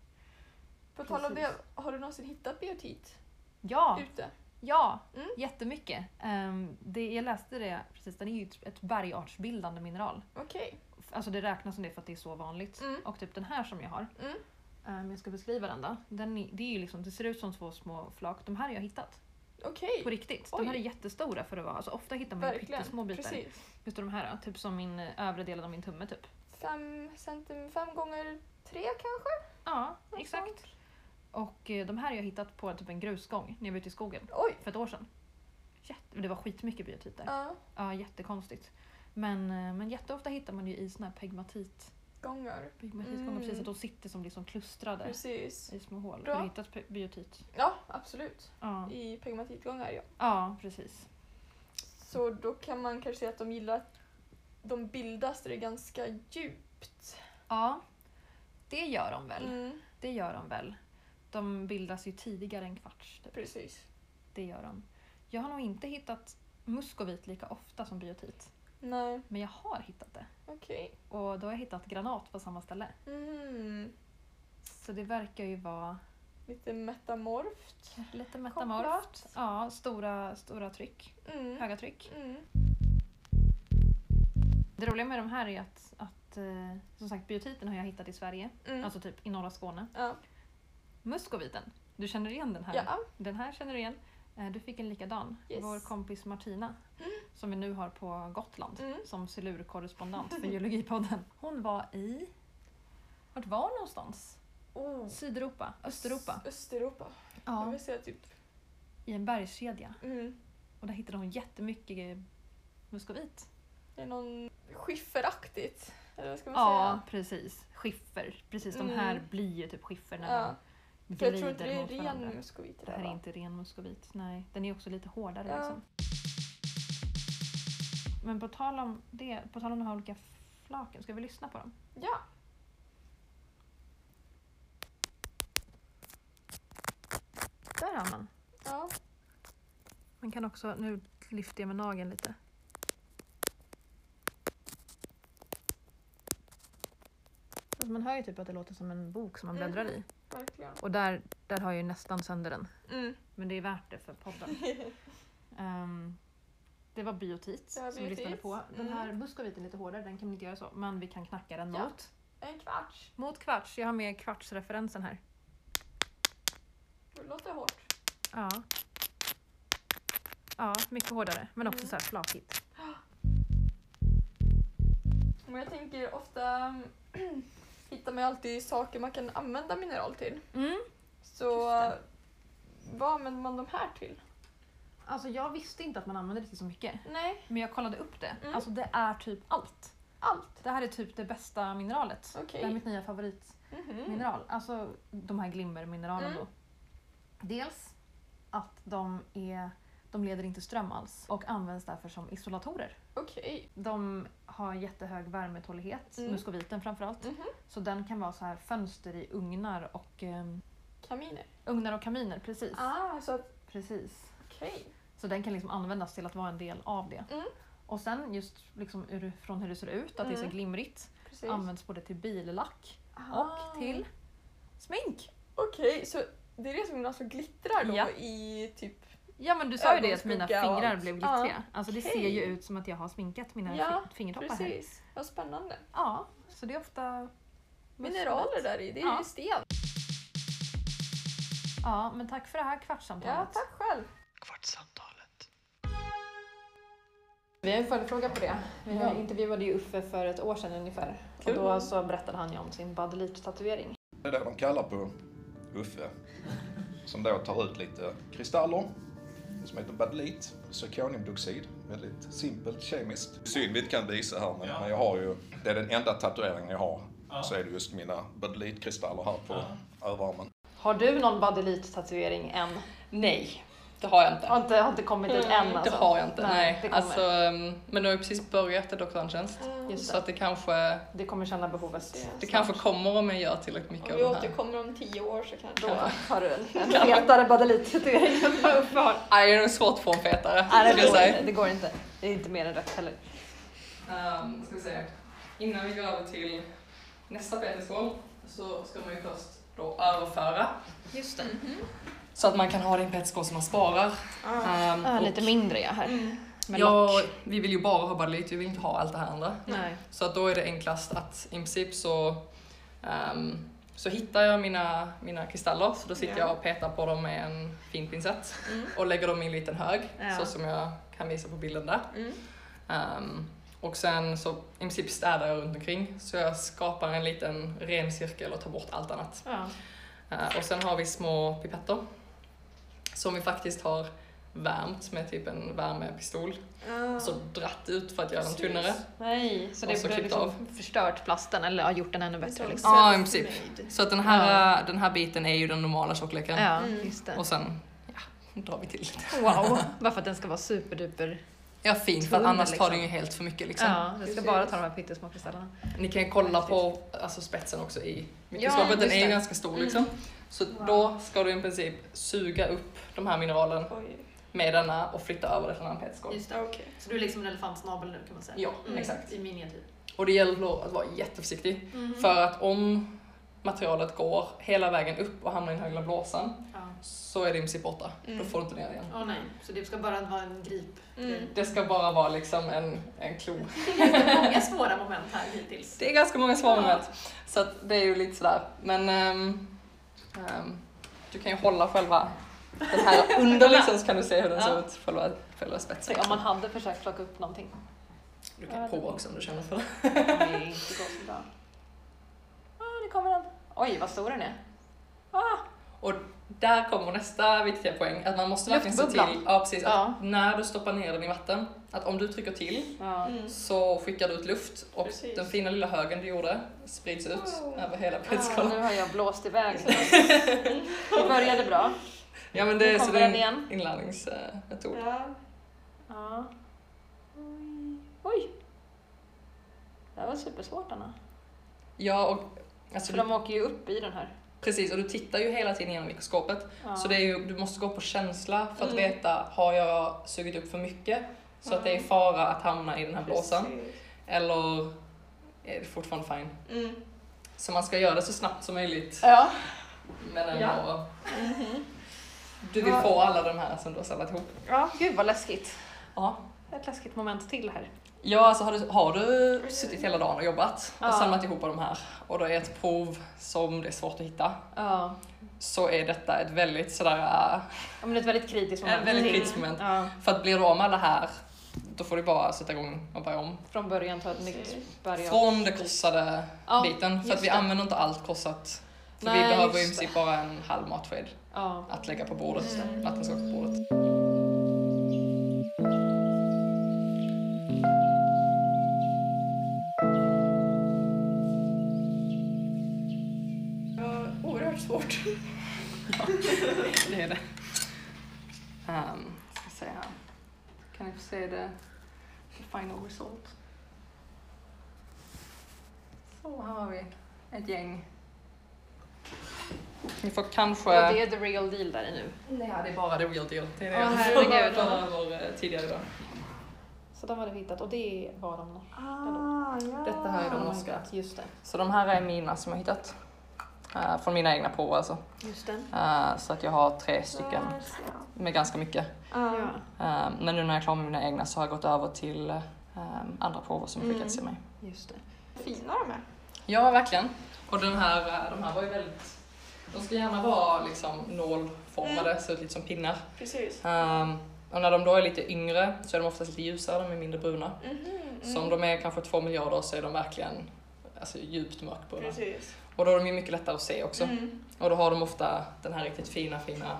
C: På tal om det,
A: Precis.
C: har du någonsin hittat biotit
A: Ja,
C: ute?
A: ja
C: Mm.
A: jättemycket. Ehm, det, jag läste det precis, den är ju ett- ett bergartsbildande mineral.
C: Okej.
A: Alltså det räknas som det för att det är så vanligt.
C: Mm.
A: Och typ den här som jag har,
C: Mm.
A: ehm, jag ska beskriva den då. Den, är- det, är ju liksom, det ser ut som två små flak. De här har jag hittat
C: Okej.
A: på riktigt.
C: Oj.
A: De här är jättestora för att vara, alltså ofta hittar man ju
C: Verkligen.
A: pyttesmå bitar.
C: Precis.
A: Hur stor är de här då? Typ som min eh, övre delen av min tumme typ.
C: Fem, centim, fem gånger tre kanske?
A: Ja,
C: Något
A: exakt.
C: sånt.
A: Och eh, de här har jag hittat på typ en grusgång när jag var ute i skogen
C: Oj.
A: för ett år sedan. Jätte, det var skitmycket biotiter. Ja.
C: Ja,
A: jättekonstigt. Men, eh, men jätteofta hittar man ju i såna här pegmatit,
C: gånger.
A: pegmatitgångar
C: Mm.
A: precis, att de sitter som liksom klustrade
C: Precis.
A: i små hål.
C: Bra.
A: Har du hittat pe- biotit?
C: Ja, absolut.
A: Ja.
C: I pegmatitgångar, ja.
A: ja, precis.
C: Så då kan man kanske säga att de gillar att de bildas där det är ganska djupt.
A: Ja, det gör de väl.
C: Mm,
A: Det gör de väl. De bildas ju tidigare än kvarts. Typ.
C: precis.
A: Det gör de. Jag har nog inte hittat muskovit lika ofta som biotit.
C: Nej,
A: Men jag har hittat det.
C: okej.
A: Och då har jag hittat granat på samma ställe.
C: Mm.
A: Så det verkar ju vara
C: Lite metamorft.
A: lite metamorft.
C: Kopplat.
A: Ja, stora, stora tryck.
C: Mm.
A: Höga tryck.
C: Mm.
A: Det roliga med de här är att, att eh, som sagt biotiten har jag hittat i Sverige.
C: Mm.
A: Alltså typ i norra Skåne.
C: ja.
A: Muskoviten. Du känner igen den här?
C: ja,
A: Den här känner du igen. Eh, Du fick en likadan.
C: Yes.
A: Vår kompis Martina, som vi nu har på Gotland,
C: Mm.
A: som silurkorrespondent för Geologipodden. Hon var i... Vart var hon någonstans?
C: oh.
A: Sydeuropa? Östeuropa?
C: Öst- Östeuropa. Jag
A: Ja.
C: vill säga typ...
A: I en bergskedja.
C: Mm.
A: Och där hittade hon jättemycket eh, muskovit.
C: Det är någon skifferaktigt. Eller vad ska man
A: Ja,
C: säga?
A: precis. Skiffer. Precis, de
C: Mm.
A: här blir ju typ skiffer när
C: Ja.
A: de
C: För jag tror inte
A: glider
C: det är
A: mot varandra.
C: ren muskovit.
A: Det
C: där,
A: här
C: va?
A: är inte ren muskovit, nej. Den är också lite hårdare
C: Ja.
A: liksom. Men på tal om det, på tal om de här olika flaken, ska vi lyssna på dem?
C: Ja.
A: Där har man.
C: ja.
A: Man kan också, nu lyfter jag med nageln lite. Alltså man hör ju typ att det låter som en bok som man
C: Mm.
A: bläddrar i.
C: Verkligen.
A: Och där, där har jag ju nästan sönder den.
C: Mm.
A: Men det är värt det för podden. Ehm, Det var biotit
C: Det var
A: som vi lyssnade
C: biotit.
A: på. Den här
C: Mm.
A: muskoviten är lite hårdare, den kan vi inte göra så. Men vi kan knacka den
C: Ja.
A: mot.
C: En kvarts.
A: Mot kvarts, jag har med kvartsreferensen här.
C: Det låter hårt.
A: Ja. Ja, mycket hårdare. Men
C: Mm.
A: också så här flakigt.
C: Men jag tänker ofta hittar man ju alltid saker man kan använda mineral till.
A: Mm.
C: Så eh, vad använder man de här till?
A: Alltså jag visste inte att man använde det till så mycket.
C: Nej,
A: Men jag kollade upp det.
C: Mm.
A: Alltså det är typ allt.
C: allt.
A: Det här är typ det bästa mineralet.
C: Okej.
A: Det är mitt nya favoritmineral.
C: Mhm.
A: Alltså de här glimmermineralen
C: Mm.
A: då. Dels att de, är, de leder inte ström alls och används därför som isolatorer.
C: Okej.
A: De har jättehög värmetålighet,
C: Mm.
A: muskoviten framförallt.
C: Mhm.
A: Så den kan vara så här fönster i ugnar och, ehm,
C: Kaminer.
A: ugnar och kaminer. Precis.
C: Ah, så att
A: precis.
C: okej.
A: Så den kan liksom användas till att vara en del av det.
C: Mm.
A: Och sen just liksom ur, från hur det ser ut, att det är
C: Mm.
A: så glimrigt,
C: Precis.
A: används både till billack
C: Ah.
A: och till smink.
C: Okej, så det är det som alltså glittrar då
A: Ja.
C: i typ...
A: Ja men du sa ju det att mina
C: Ögonskugga och
A: fingrar
C: allt.
A: blev glittriga.
C: Ja,
A: Alltså det
C: okej.
A: ser ju ut som att jag har sminkat mina
C: Ja,
A: fi- fingertoppar här.
C: Precis. Vad spännande.
A: Ja, så det är ofta
C: Mineraler där i, det är
A: Ja.
C: ju sten.
A: Ja, men tack för det här
C: Ja,
A: kvartssamtalet.
C: tack själv.
F: Vi har en följdfråga på det. Vi
A: Ja.
F: intervjuade ju Uffe för ett år sedan ungefär.
A: Kul.
F: Och då så berättade han ju om sin badelitstatuering.
B: Det är det de kallar på Uffe. Som då tar ut lite kristaller som heter badelit, zirkoniumdoxid. Väldigt simpelt kemiskt. Synd vi inte kan visa här men,
I: Ja.
B: men jag har ju, det är den enda tatueringen jag har.
I: Ja.
B: Så är det just mina badelitkristaller här på överarmen.
F: Har du någon badelitstatuering än?
E: Nej, det har jag inte.
F: Har inte, har inte kommit dit
C: Mm,
F: än alltså?
E: Det har jag inte, nej.
F: det kommer.
E: alltså, um, men nu har jag precis börjat i doktorandtjänst.
F: Just
E: Så
F: det.
E: att det kanske,
F: Det kommer känna behovet.
E: det kanske kommer om jag gör tillräckligt mycket
C: Om
E: av
C: vi
E: den här.
C: återkommer om tio år så kanske...
F: Då har du en, en fetare badelitstatuering än vad Uffe har.
E: Nej, det är nog svårt att få en fetare.
F: Nej,
E: skulle
F: det
E: jag
F: går
E: säga.
F: inte. Det går inte. Det är inte mer än rätt heller.
E: Ehm, ska vi se. Innan vi går över till nästa betesgång så ska man ju först då överföra.
A: Just det.
E: Så att man kan ha det i en petskål som man sparar. Ehm, och-
A: lite mindre jag här.
F: Mm.
A: Med
E: ja,
A: lock.
E: vi vill ju bara ha badelit, vi vill inte ha allt det här andra.
A: Nej.
E: Så att då är det enklast att i princip så, ehm, så hittar jag mina, mina kristaller, så då sitter jag och petar på dem med en fin pincett
C: Mm.
E: och lägger dem i en liten hög,
A: Ja.
E: så som jag kan visa på bilden där.
C: Mm.
E: Ehm, och sen så i princip städar jag runt omkring så jag skapar en liten ren cirkel och tar bort allt annat.
A: Ja.
E: Eh, och sen har vi små pipetter som vi faktiskt har värmt med typ en värmepistol. Så dratt ut för att göra dem
C: Precis.
E: tunnare.
F: Nej, så
E: Och
F: det
E: så
F: blir
E: klippt
F: liksom
E: av.
F: förstört plasten eller har gjort den ännu bättre.
C: Liksom.
F: Liksom.
E: Ja, i
C: Self-made.
E: princip. Så att den här, eh, den här biten är ju den normala tjockleken.
F: Ja, just det.
E: Och sen ja, drar vi till lite.
F: Wow, bara för att den ska vara superduper.
E: Ja, fint, för att
F: Tunn,
E: annars tar den ju
F: liksom.
E: helt för mycket liksom.
F: Ja, den ska bara ta de här pyttesmå kristallerna.
E: Ni kan ju kolla på alltså, spetsen också i mikroskopet, den
F: just
E: är ju
F: det. Mm.
E: ganska stor liksom. Så då ska du i princip suga upp de här mineralen
C: Oj.
E: med denna och flytta över det till en annan petskål.
F: Just
C: Okej.
F: Så du är liksom en elefantsnabel nu kan man säga. Mm.
E: Ja, exakt.
F: I miniatyr.
E: Och det gäller då att vara
F: Mm.
E: jätteförsiktig. För att om materialet går hela vägen upp och hamnar i den här lilla blåsan
F: Ja.
E: så är det i princip borta. Då
C: Mm.
E: får du inte ner det igen.
F: Åh nej, så det ska bara vara en grip.
C: Mm.
E: Det ska bara vara liksom en, en klo.
F: Många svåra moment här hittills.
E: Det är ganska många svar med. Så att det är ju lite sådär. Men ehm, ehm, du kan ju hålla själva den här under liksom så kan du se hur den ser ut, själva, själva spetsen.
F: Tänk om man hade försökt plocka upp någonting.
E: Du kan prova också om du känner för det.
F: Det är inte så bra. Ah, nu kommer den. Oj, vad stor den är.
E: Och där kommer nästa viktiga poäng, att man måste verkligen se
F: Luftbubblan.
E: till ja, precis, att
F: Ja.
E: när du stoppar ner den i vatten, att om du trycker till
F: Ja.
C: Mm.
E: så skickar du ut luft och
C: Precis.
E: den fina lilla högen du gjorde sprids ut
C: Oh.
E: över hela
F: Ah,
E: petskålen.
F: nu har jag blåst iväg. Det började bra.
E: ja men det
F: Nu
E: är så
F: kommer
E: det är
F: den
E: en
F: igen.
E: inlärningsmetod.
C: Ja.
F: Ja. Oj. Oj. Det här var supersvårt Anna.
E: Ja, och, alltså,
F: För de åker ju upp i den här.
E: Precis, och du tittar ju hela tiden genom mikroskopet.
F: Ja. Mm.
E: Så det är ju, du måste gå på känsla för att veta, har jag sugit upp för mycket? Så att det är fara att hamna i den här blåsan. Eller är det fortfarande fine?
C: Mm.
E: Så man ska göra det så snabbt som möjligt.
F: Ja.
E: Men ändå.
F: Ja. Mhm.
E: Du vill få alla de här som du har samlat ihop.
F: ja, gud vad läskigt.
E: Ja.
F: ett läskigt moment till här.
E: Ja, alltså har du, har du suttit hela dagen och jobbat och
F: Ja.
E: samlat ihop de här och det är ett prov som det är svårt att hitta
F: Ja.
E: så är detta ett väldigt sådär äh,
F: Ja, men det är ett väldigt kritiskt moment. Mm.
E: Ett väldigt kritiskt moment.
F: Ja,
E: För att blir du av med alla här, då får du bara sätta igång och börja om.
F: från början ta ett nytt berg.
E: Från det korsade
F: Ja,
E: biten. För
F: just
E: att vi
F: det.
E: använder inte allt korsat. För
F: Nej,
E: vi behöver ju i
F: just
E: princip bara en halv matsked
F: Ja. Mm.
E: att lägga på bordet. Att den ska på bordet.
D: Oerhört svårt.
E: Det är det. Ehm, ska se här. Kan ni få se det? The final result. Så, här har vi ett gäng. Ni får kanske...
F: ja, det är the real deal där i nu.
E: Nej, det är bara the real deal. Det är det
F: Åh,
E: jag
F: herregud.
E: pratade om eh, tidigare idag.
F: Så de hade vi hittat och det var de norska.
C: Ah, ja.
E: Detta här är de norska.
F: Oh God, Just det.
E: Så de här är mina som jag hittat. Eh, från mina egna prover alltså.
F: Just det.
E: Eh, så att jag har tre stycken
C: Där ser jag.
E: med ganska mycket.
C: Ja.
F: Ja,
E: Eh, men nu när jag är klar med mina egna så har jag gått över till eh, andra prover
F: Mm.
E: som skickats till mig.
F: just det.
C: Fina de är.
E: Ja, verkligen. Och den här, eh, de här var ju väldigt... De ska gärna vara liksom nålformade,
F: Mm.
E: så lite som pinnar.
C: Precis.
E: Ehm, och när de då är lite yngre så är de oftast lite ljusare, de är mindre bruna.
C: Mhm,
E: Så om de är kanske två miljarder så är de verkligen alltså, djupt mörkbruna.
C: Precis.
E: Och då är de ju mycket lättare att se också.
C: Mm.
E: Och då har de ofta den här riktigt fina, fina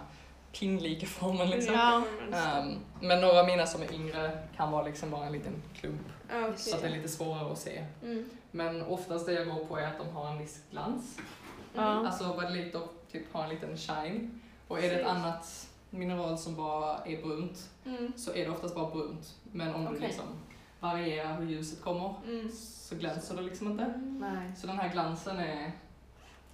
E: pinlika formen liksom.
C: Ja.
E: Ehm, men några av mina som är yngre kan vara liksom bara en liten klump,
C: Ja,
E: så att det är
C: okej.
E: lite svårare att se.
C: Mm.
E: Men oftast det jag går på är att de har en viss glans,
C: Mm.
F: Ja.
E: alltså vad det lite typ har en liten shine. Och är det ett
C: Precis.
E: annat mineral som bara är brunt
C: Mm.
E: så är det oftast bara brunt. Men om du
F: Okej.
E: liksom varierar hur ljuset kommer
C: Mm.
E: så glänser det liksom inte.
F: Nej.
E: Så den här glansen är,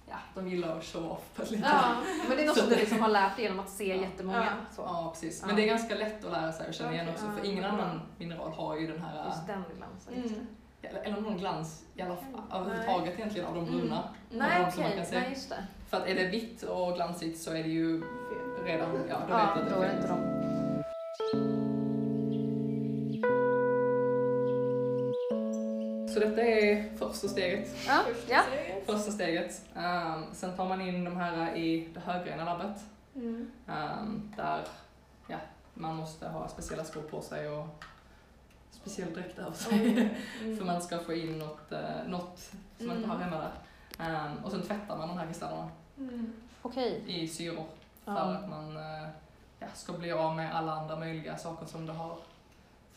E: ja, de gillar att show off på ett lite
F: Ja, men det är något som du liksom har lärt dig genom att se jättemånga. Så.
E: Ja, precis.
F: Ja.
E: Men det är ganska lätt att lära sig och känna igen
C: Okej,
E: också,
C: ja,
E: för ingen
C: bra.
E: annan mineral har ju den här,
F: Just den glansen. Just det.
C: Mm.
E: eller, eller någon glans i alla fall, överhuvudtaget egentligen, av de
C: Mm.
E: bruna.
F: Nej
E: Ja, som man
F: okej,
E: kan se.
F: nej just det.
E: För att är det vitt och glansigt så är det ju redan, ja, då
F: Ja,
E: vet du
F: då är
E: att
F: det
E: det
F: inte
E: fel.
F: de.
E: Så detta är första steget.
F: Ja, ja.
E: Första steget. Ehm, sen tar man in de här i det höggrena labbet,
C: Mm.
E: ehm, där ja, man måste ha speciella skor på sig och speciell dräkt över sig. För
F: Mm.
E: man ska få in något, eh, något som man inte har hemma där. Ehm, och sen tvättar man de här kristallerna
C: Mm.
F: Okej.
E: i syror för
F: Ja.
E: att man eh, ja, ska bli av med alla andra möjliga saker som det har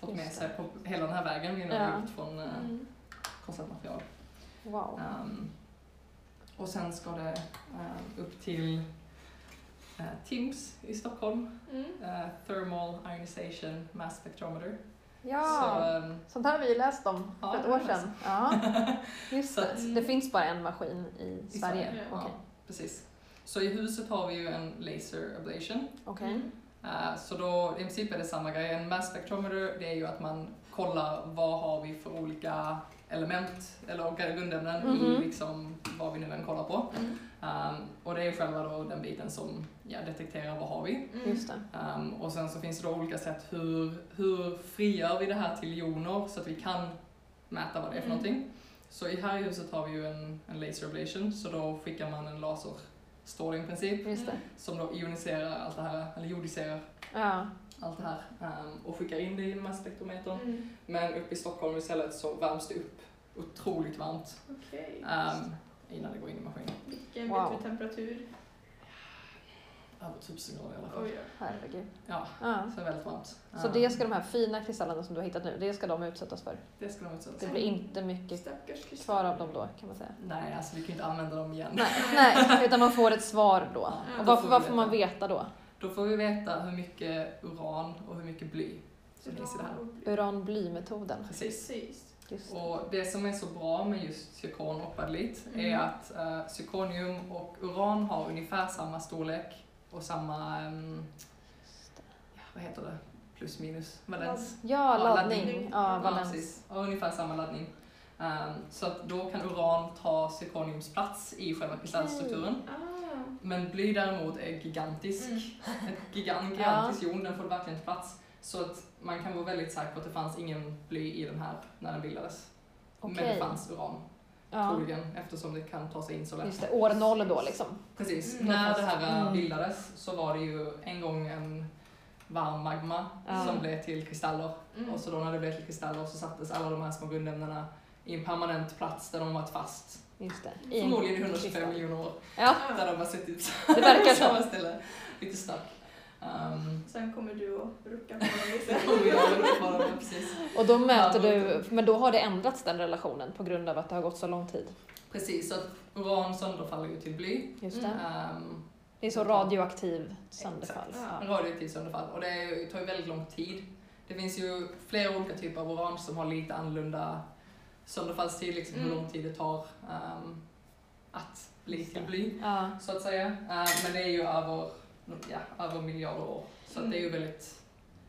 E: fått
F: Just
E: med
F: det.
E: sig på hela den här vägen genom
F: Ja. Mm.
E: livet från eh, konstigt material.
F: Wow.
E: Ehm, och sen ska det eh, upp till eh, TIMS i Stockholm,
C: Mm.
E: eh, Thermal Ionization Mass Spectrometer. Så,
F: Ja,
E: ehm,
F: sånt här har vi ju läst om
E: Ja,
F: för ett
E: det har
F: år
E: vi
F: sedan. Ja, just
E: Så
F: det.
E: att-
F: Det finns bara en maskin i
E: I
F: Sverige.
E: Sverige, ja.
F: Okej.
E: precis. Så i huset har vi ju en laser ablation
F: Okej.
E: Eh, Så då, i princip är det samma grej. En mass spectrometer, det är ju att man kollar vad har vi för olika element eller olika grundämnen
F: Mhm.
E: i liksom vad vi nu än kollar på.
C: Mm.
E: Um, och det är själva då den biten som ja, detekterar vad har vi.
F: Just det.
E: Um, och sen så finns det då olika sätt hur, hur frigör vi det här till joner så att vi kan mäta vad det är
C: Mm.
E: för någonting. Så i här i huset har vi ju en, en laser ablation så då skickar man en laserstråle i princip
F: Just det.
E: som då ioniserar allt det här, eller jodiserar
F: Ja.
E: allt det här ehm, och skickar in det i masspektrometern.
C: Mm.
E: Men uppe i Stockholm istället så värms det upp otroligt varmt
C: Okej.
E: ehm, innan det går in i maskinen.
C: Vilken
F: Wow.
C: vet du temperatur?
E: Över 1000 grader i alla fall.
C: Oj, ja.
F: Herregud.
E: Ja,
F: Ja.
E: så väldigt varmt.
F: Så
E: Ehm,
F: det ska de här fina kristallerna som du har hittat nu, det ska de utsättas för.
E: det ska de utsättas
F: Det
E: för.
F: blir inte mycket
C: Stackars Kristin.
F: kvar av dem då kan man säga.
E: Nej, alltså vi kan ju inte använda dem igen.
F: Nej, nej utan man får ett svar då.
E: Ja,
F: Och
E: då
F: vad,
E: får vi
F: vad får
E: veta.
F: man veta då?
E: Då får vi veta hur mycket uran och hur mycket bly som finns i det här.
F: Uranblymetoden.
E: Precis.
C: Precis.
F: Just det.
E: Och det som är så bra med just zirkon och balit är att eh, zirkonium och uran har ungefär samma storlek och samma ehm, ja, vad heter det, plus minus valens.
F: Ja,
E: Ja,
F: laddning.
E: laddning.
F: Ja,
C: Ja,
F: valens.
E: precis. Och ungefär samma laddning. Ehm, så att då kan uran ta zirkoniums plats i själva kristallstrukturen.
C: Ah.
E: Men bly däremot är gigantisk.
C: Mm.
E: En gigant, gigantisk jon, den får verkligen plats. Så att man kan vara väldigt säker på att det fanns ingen bly i den här när den bildades. Men
A: Okej.
E: det fanns uran,
A: Ja.
E: troligen, eftersom det kan ta sig in så lätt.
A: Just det, år noll då liksom.
E: Precis.
J: Mm.
E: När det här
A: Mm.
E: eh, bildades så var det ju en gång en varm magma
A: Ja.
E: som blev till kristaller.
C: Mm.
E: Och så då när det blev till kristaller så sattes alla de här små grundämnena i en permanent plats där de varit fast.
A: Just det. I en
E: Förmodligen i 125
A: kristall.
E: miljoner år.
A: Ja,
E: Där de har suttit
A: det verkar
E: på
A: så.
E: samma ställe. Lite snack. Um,
C: Sen kommer du och rucka på dem lite.
E: och jag vet inte vad de var precis.
A: Och då mäter
E: Ja,
A: du, men då har det ändrats den relationen på grund av att det har gått så lång tid.
E: Precis, så att uran sönderfaller ju till bly.
A: Just det.
E: Um,
A: Det är så radioaktiv sönderfall.
E: Exakt.
A: Ja.
E: radioaktivt sönderfall och det är ju- tar ju väldigt lång tid. Det finns ju flera olika typer av uran som har lite annorlunda sönderfallstid, liksom hur
C: Mm.
E: lång tid det tar ehm, att bli till bly,
A: Ja.
E: så att säga. Ehm, men det är ju över, ja, över miljarder år, så att det är ju väldigt,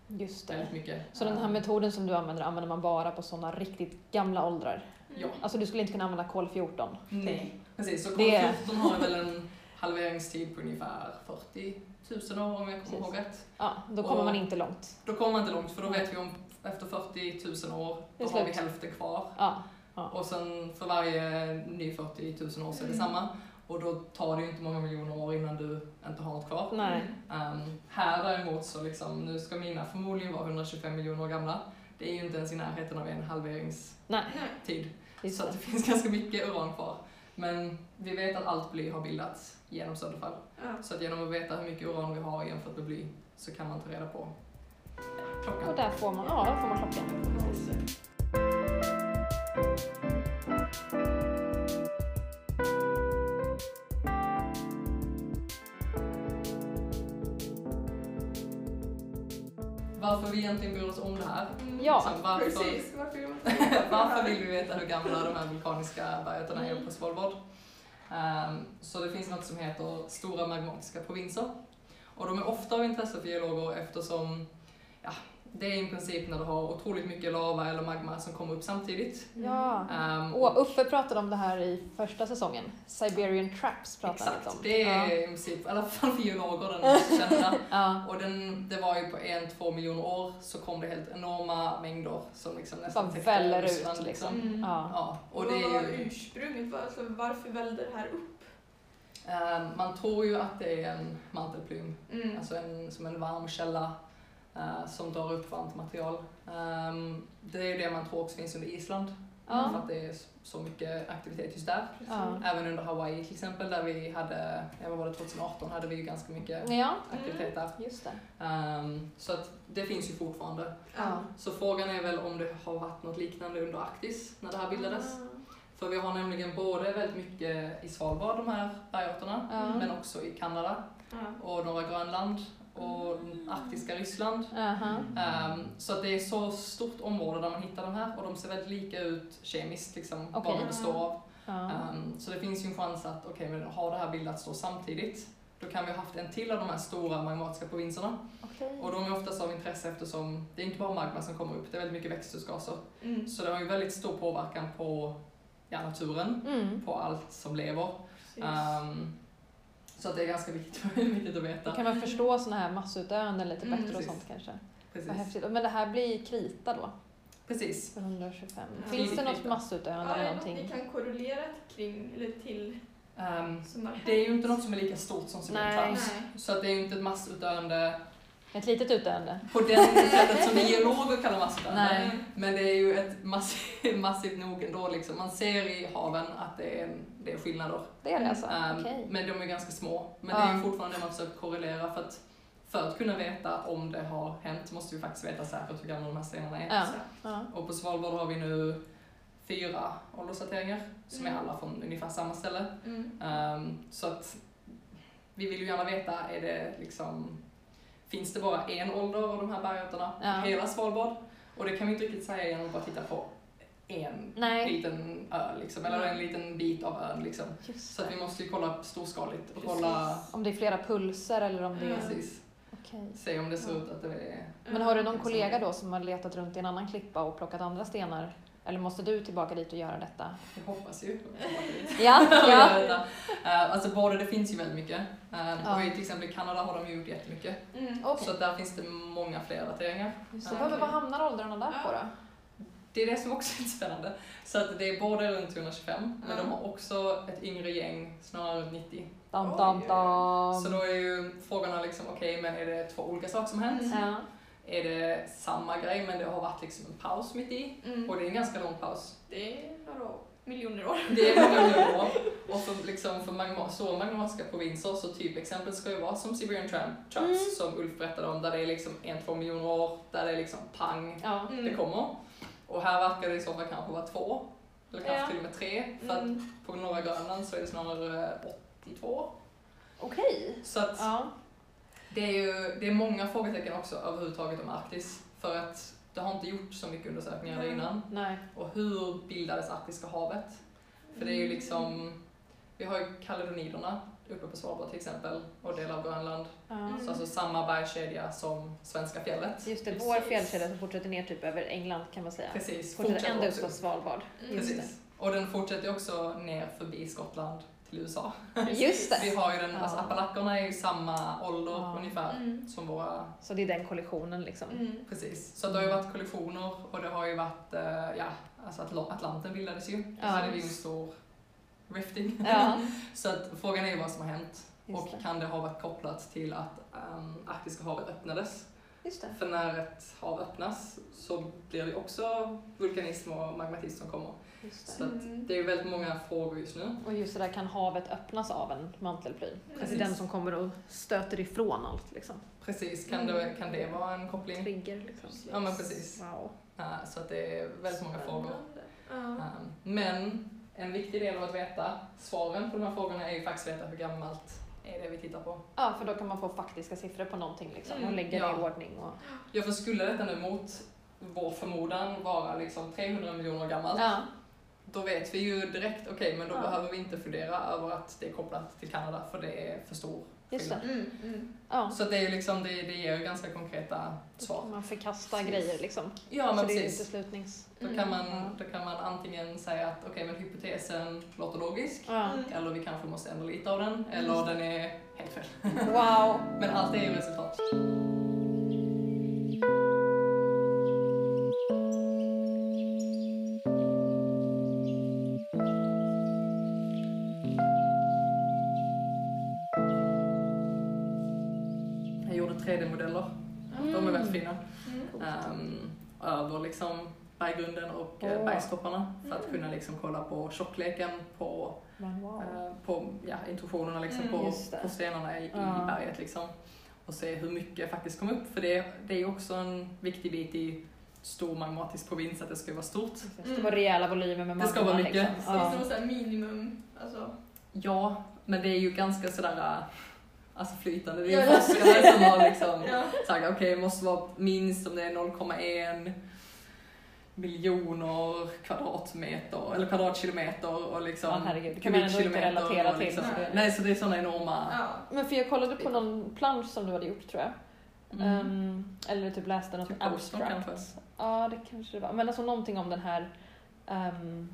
A: Just det.
E: väldigt mycket.
A: Mm. Så den här
E: Ehm,
A: metoden som du använder använder man bara på sådana riktigt gamla åldrar?
E: Ja,
A: Alltså du skulle inte kunna använda kol 14?
E: nej. Precis, så
A: Det-
E: kol-14 har väl en halveringstid på ungefär 40 000 år om jag
A: Precis.
E: kommer ihåg rätt.
A: Ja, då kommer
E: Och-
A: man inte långt.
E: Då kommer man inte långt för då vet vi om efter 40 000 år,
A: Det
E: då
A: är
E: har vi
A: slut.
E: hälften kvar.
A: Ja,
E: Och sen för varje ny 40 000 år så är det
A: Mm.
E: samma. Och då tar det ju inte många miljoner år innan du inte har något kvar.
A: nej.
E: Ehm, här däremot så liksom, nu ska mina förmodligen vara 125 miljoner år gamla. Det är ju inte ens i närheten av en halveringstid.
A: Nej, just
E: Så att
A: det.
E: det finns ganska mycket uran kvar. Men vi vet att allt bly har bildats genom sönderfall.
C: Ja.
E: Så att genom att veta hur mycket uran vi har jämfört med bly så kan man ta reda på ja, klockan.
A: Och där får man, ja, där får man klockan.
E: Varför vi egentligen bryr oss om det här.
A: Ja,
E: Liksom, varför,
C: Precis, varför gör man
E: varför vill vi veta hur gamla de här vulkaniska bergarterna
A: Mm.
E: är på Svalbard? Ehm, så det finns något som heter stora magmatiska provinser. Och de är ofta av intresse för geologer eftersom ja, det är i princip när du har otroligt mycket lava eller magma som kommer upp samtidigt.
A: ja.
E: Ehm,
A: Och Uffe pratade om det här i första säsongen. Siberian Traps pratade han lite
E: Exakt,
A: om.
E: det är
A: Ja.
E: i princip, i alla fall för geologer, den mest kända.
A: Ja.
E: Och den, det var ju på en, två miljoner år så kom det helt enorma mängder som liksom nästan
A: Bara
E: täckte
A: väller ut,
E: Ryssland,
A: liksom.
C: Mm.
A: Ja.
E: Ja,
C: Och
E: och det är
C: vad var
E: ju,
C: ursprunget var, alltså varför vällde det här upp?
E: eh, man tror ju att det är en mantelplym,
C: Mm.
E: alltså en, som en varm källa eh, som drar upp varmt material. Ehm, det är ju det man tror också finns under Island, eh,
A: Ja.
E: för att det är så mycket aktivitet just där.
A: Ja.
E: Även under Hawaii till exempel, där vi hade, ja, vad var det, 2018 hade vi ju ganska mycket
A: ja,
E: aktivitet där.
A: just det.
E: Ehm, så att det finns ju fortfarande.
A: Ja.
E: Så frågan är väl om det har varit något liknande under Arktis när det här
C: Mm.
E: bildades. För vi har nämligen både väldigt mycket i Svalbard, de här bergarterna,
A: Ja.
E: men också i Kanada
C: Ja.
E: och norra Grönland och arktiska Ryssland.
A: Aha.
B: Uh-huh.
E: Ehm, så att det är så stort område där man hittar de här och de ser väldigt lika ut kemiskt, liksom,
A: Okej.
E: vad de består av.
A: Ja.
E: Ehm, så det finns ju en chans att, okej, men har det här bildats då samtidigt, då kan vi ha haft en till av de här stora magmatiska provinserna.
A: Mm. Okej.
E: Och de är oftast av intresse eftersom det är inte bara magma som kommer upp, det är väldigt mycket växthusgaser.
C: Mm.
E: Så det har ju väldigt stor påverkan på ja, naturen,
A: Mm.
E: på allt som lever.
C: Precis.
E: Ehm, så att det är ganska viktigt, viktigt att
A: Då
E: veta.
A: kan man förstå såna här massutdöenden lite
C: Mm,
A: bättre och
E: precis.
A: sånt kanske. Vad
E: Precis.
A: häftigt. Men det här blir krita då,
E: Precis.
A: för 125.
C: Ja.
A: Finns det
E: Krita.
A: något massutdöende
C: Ja,
A: eller
C: är det något ni
A: någonting?
C: kan korrelera kring eller till
E: Ehm,
C: som har hänt?
E: det är ju inte något som är lika stort som
A: Nej.
E: Sibirien Så att det är ju inte ett massutdöende
A: Ett litet utdöende?
E: på det sättet som vi geologer kallar massutdöende.
A: Nej.
C: Mm.
E: Men det är ju ett massivt, massivt nog ändå. Liksom. Man ser i haven att det är, det är skillnader.
A: Det är det alltså?
E: Ehm,
A: Okej. Ah.
E: Men de är ganska små. Men
A: Ja.
E: det är ju fortfarande det man försöker korrelera för att för att kunna veta om det har hänt måste vi faktiskt veta säkert hur gamla de här stenarna är.
A: Ja. Ja.
E: Och på Svalbard har vi nu fyra åldersdateringar som
A: Mm.
E: är alla från ungefär samma ställe.
C: Mm.
E: Ehm, så att vi vill ju gärna veta, är det liksom, finns det bara en ålder av de här bergarterna på
A: Ja.
E: hela Svalbard? Och det kan vi inte riktigt säga genom att bara titta på en
A: Nej,
E: liten ö, liksom, eller en liten bit av ön. Liksom.
A: just
E: Så att vi
A: det.
E: måste ju kolla storskaligt och kolla
A: Om det är flera pulser eller om det är...
E: precis,
A: Okej.
E: se om det ser ut att det är...
A: Mm, Men har du någon kollega då som har letat runt i en annan klippa och plockat andra stenar? Eller måste du tillbaka dit och göra detta?
E: Jag hoppas ju.
A: Ja, ja.
E: ja. Alltså både, det finns ju väldigt mycket. Eh,
A: Ja.
E: Och i till exempel Kanada har de ju gjort jättemycket.
C: Mm.
A: Okej.
E: Så att där finns det många fler dateringar.
A: Så vad, vad hamnar åldrarna där på då?
E: Det är det som också är lite spännande. Så att det är både runt 125, men
C: Ja.
E: de har också ett yngre gäng, snarare runt 90.
A: Dam, dam, dam.
E: Så då är ju frågorna liksom, okej, men är det två olika saker som
C: Mm.
E: hänt?
A: Ja.
E: Är det samma grej, men det har varit liksom en paus mitt i?
C: Mm.
E: Och det är en ganska lång paus.
C: Det är några miljoner år.
E: Det är många nivåer. Och för, liksom, för magma, så magmatiska provinser, så typ exempel ska ju vara som Siberian Tram- Traps,
C: Mm.
E: som Ulf berättade om, där det är liksom en, två miljoner år, där det är liksom pang,
A: Ja.
C: Mm.
E: det kommer. Och här verkar det i så fall kanske vara två, eller kanske
C: Ja.
E: till och med tre, för
C: Mm.
E: att på norra Grönland så är det snarare eh, 82.
A: Okej.
E: Så att
A: Ja.
E: det är ju det är många frågetecken också överhuvudtaget om Arktis, för att det har inte gjorts så mycket undersökningar där
C: Nej.
E: innan.
A: Nej.
E: Och hur bildades Arktiska havet? För det är
A: Mm.
E: ju liksom, vi har ju Kaledoniderna uppe på Svalbard till exempel och delar av Grönland.
A: Ja.
C: Mm.
E: Så alltså samma bergkedja som svenska fjället.
A: Just det,
C: Precis.
A: vår fjällkedja som fortsätter ner typ över England kan man säga.
E: Precis,
A: Fortsätter ända upp
E: också.
A: på Svalbard.
C: Mm.
E: Precis. Och den fortsätter ju också ner förbi Skottland till USA.
A: Just
E: Vi
A: det!
E: har ju den, alltså
A: Ja.
E: appalackerna är ju samma ålder
A: Ja.
E: ungefär
C: Mm.
E: som våra,
A: Så det är den kollisionen liksom.
C: Mm.
E: precis. Så det har ju varit kollisioner och det har ju varit, eh, ja, alltså Atl- Atlanten bildades ju.
A: Ja.
E: Då hade vi ju en stor rifting.
A: Ja,
C: Mm.
E: Så att frågan är ju vad som har hänt.
A: just
E: Och
A: det.
E: kan det ha varit kopplat till att um, Arktiska havet öppnades?
A: Just det.
E: För när ett hav öppnas så blir det också vulkanism och magmatism som kommer.
A: Just
E: Så
A: det.
E: att
C: Mm.
E: det är ju väldigt många frågor just nu.
A: Och just det där kan havet öppnas av en mantelplyn. Det är
E: Precis.
A: den som kommer och stöter ifrån allt liksom.
E: Precis, kan det, kan det vara en koppling?
A: Trigger liksom.
E: Ja men precis.
A: Wow.
E: Eh, så att det är väldigt många frågor.
C: Ja.
E: Um, men en viktig del av att veta svaren på de här frågorna är ju faktiskt att veta hur gammalt är det vi tittar på.
A: Ja, för då kan man få faktiska siffror på någonting liksom och
C: Mm,
A: lägga det i
E: ja.
A: ordning. Och...
E: Ja, för skulle detta nu mot vår förmodan vara liksom 300 miljoner år gammalt
A: Ja,
E: Då vet vi ju direkt, okej, men då
C: Ja.
E: behöver vi inte fundera över att det är kopplat till Kanada, för det är för stor
A: just det.
C: Mm. Mm.
A: Ja.
E: Så det, är ju liksom, det, det ger ju ganska konkreta
A: Då kan
E: svar.
A: man förkasta
E: Precis.
A: grejer liksom.
E: Ja,
A: så Mm.
E: men
A: det är
E: precis.
A: uteslutnings...
E: Då kan man, då kan man antingen säga att okej, men hypotesen låter logisk,
A: Ja.
C: Mm.
E: eller vi kanske måste ändra lite av den, eller den är helt fel.
C: Mm.
A: Wow!
E: Men allt är ju resultat. Jag gjorde 3D-modeller.
C: Mm.
E: De är väldigt fina. Ehm, över liksom berggrunden och eh,
A: Åh.
E: bergstopparna för att kunna liksom kolla på tjockleken på
A: Men wow.
E: eh, på ja, intuitionerna liksom,
C: Mm,
E: på,
A: just det.
E: på stenarna i,
A: Ja.
E: i berget. Liksom, och se hur mycket faktiskt kom upp. För det, det är ju också en viktig bit i stor magmatisk provins att det ska vara stort.
A: Precis, Det var rejäla volymer med
E: Det ska
A: magma,
E: vara mycket.
A: Liksom.
C: Finns det
A: Ja.
C: något sånt här minimum? Alltså,
E: Ja, men det är ju ganska sådär äh, alltså flytande. Det är
C: Ja,
E: ju
C: ja.
E: forskare som har liksom
C: ja.
E: sagt okej, det måste vara minst om det är 0,1 miljoner kvadratmeter eller kvadratkilometer och liksom
A: Ja, herregud, det kan man ändå inte
E: kubikkilometer
A: relatera
E: och
A: till,
E: Liksom,
C: så det-
E: nej, så det är sådana enorma...
C: ja.
A: Men för jag kollade på någon plansch som du hade gjort tror jag.
E: Mm.
A: Ehm, eller typ läste något
E: Typ Oslo
A: abstract.
E: kanske.
A: Ja, det kanske det var. Men alltså någonting om den här ehm,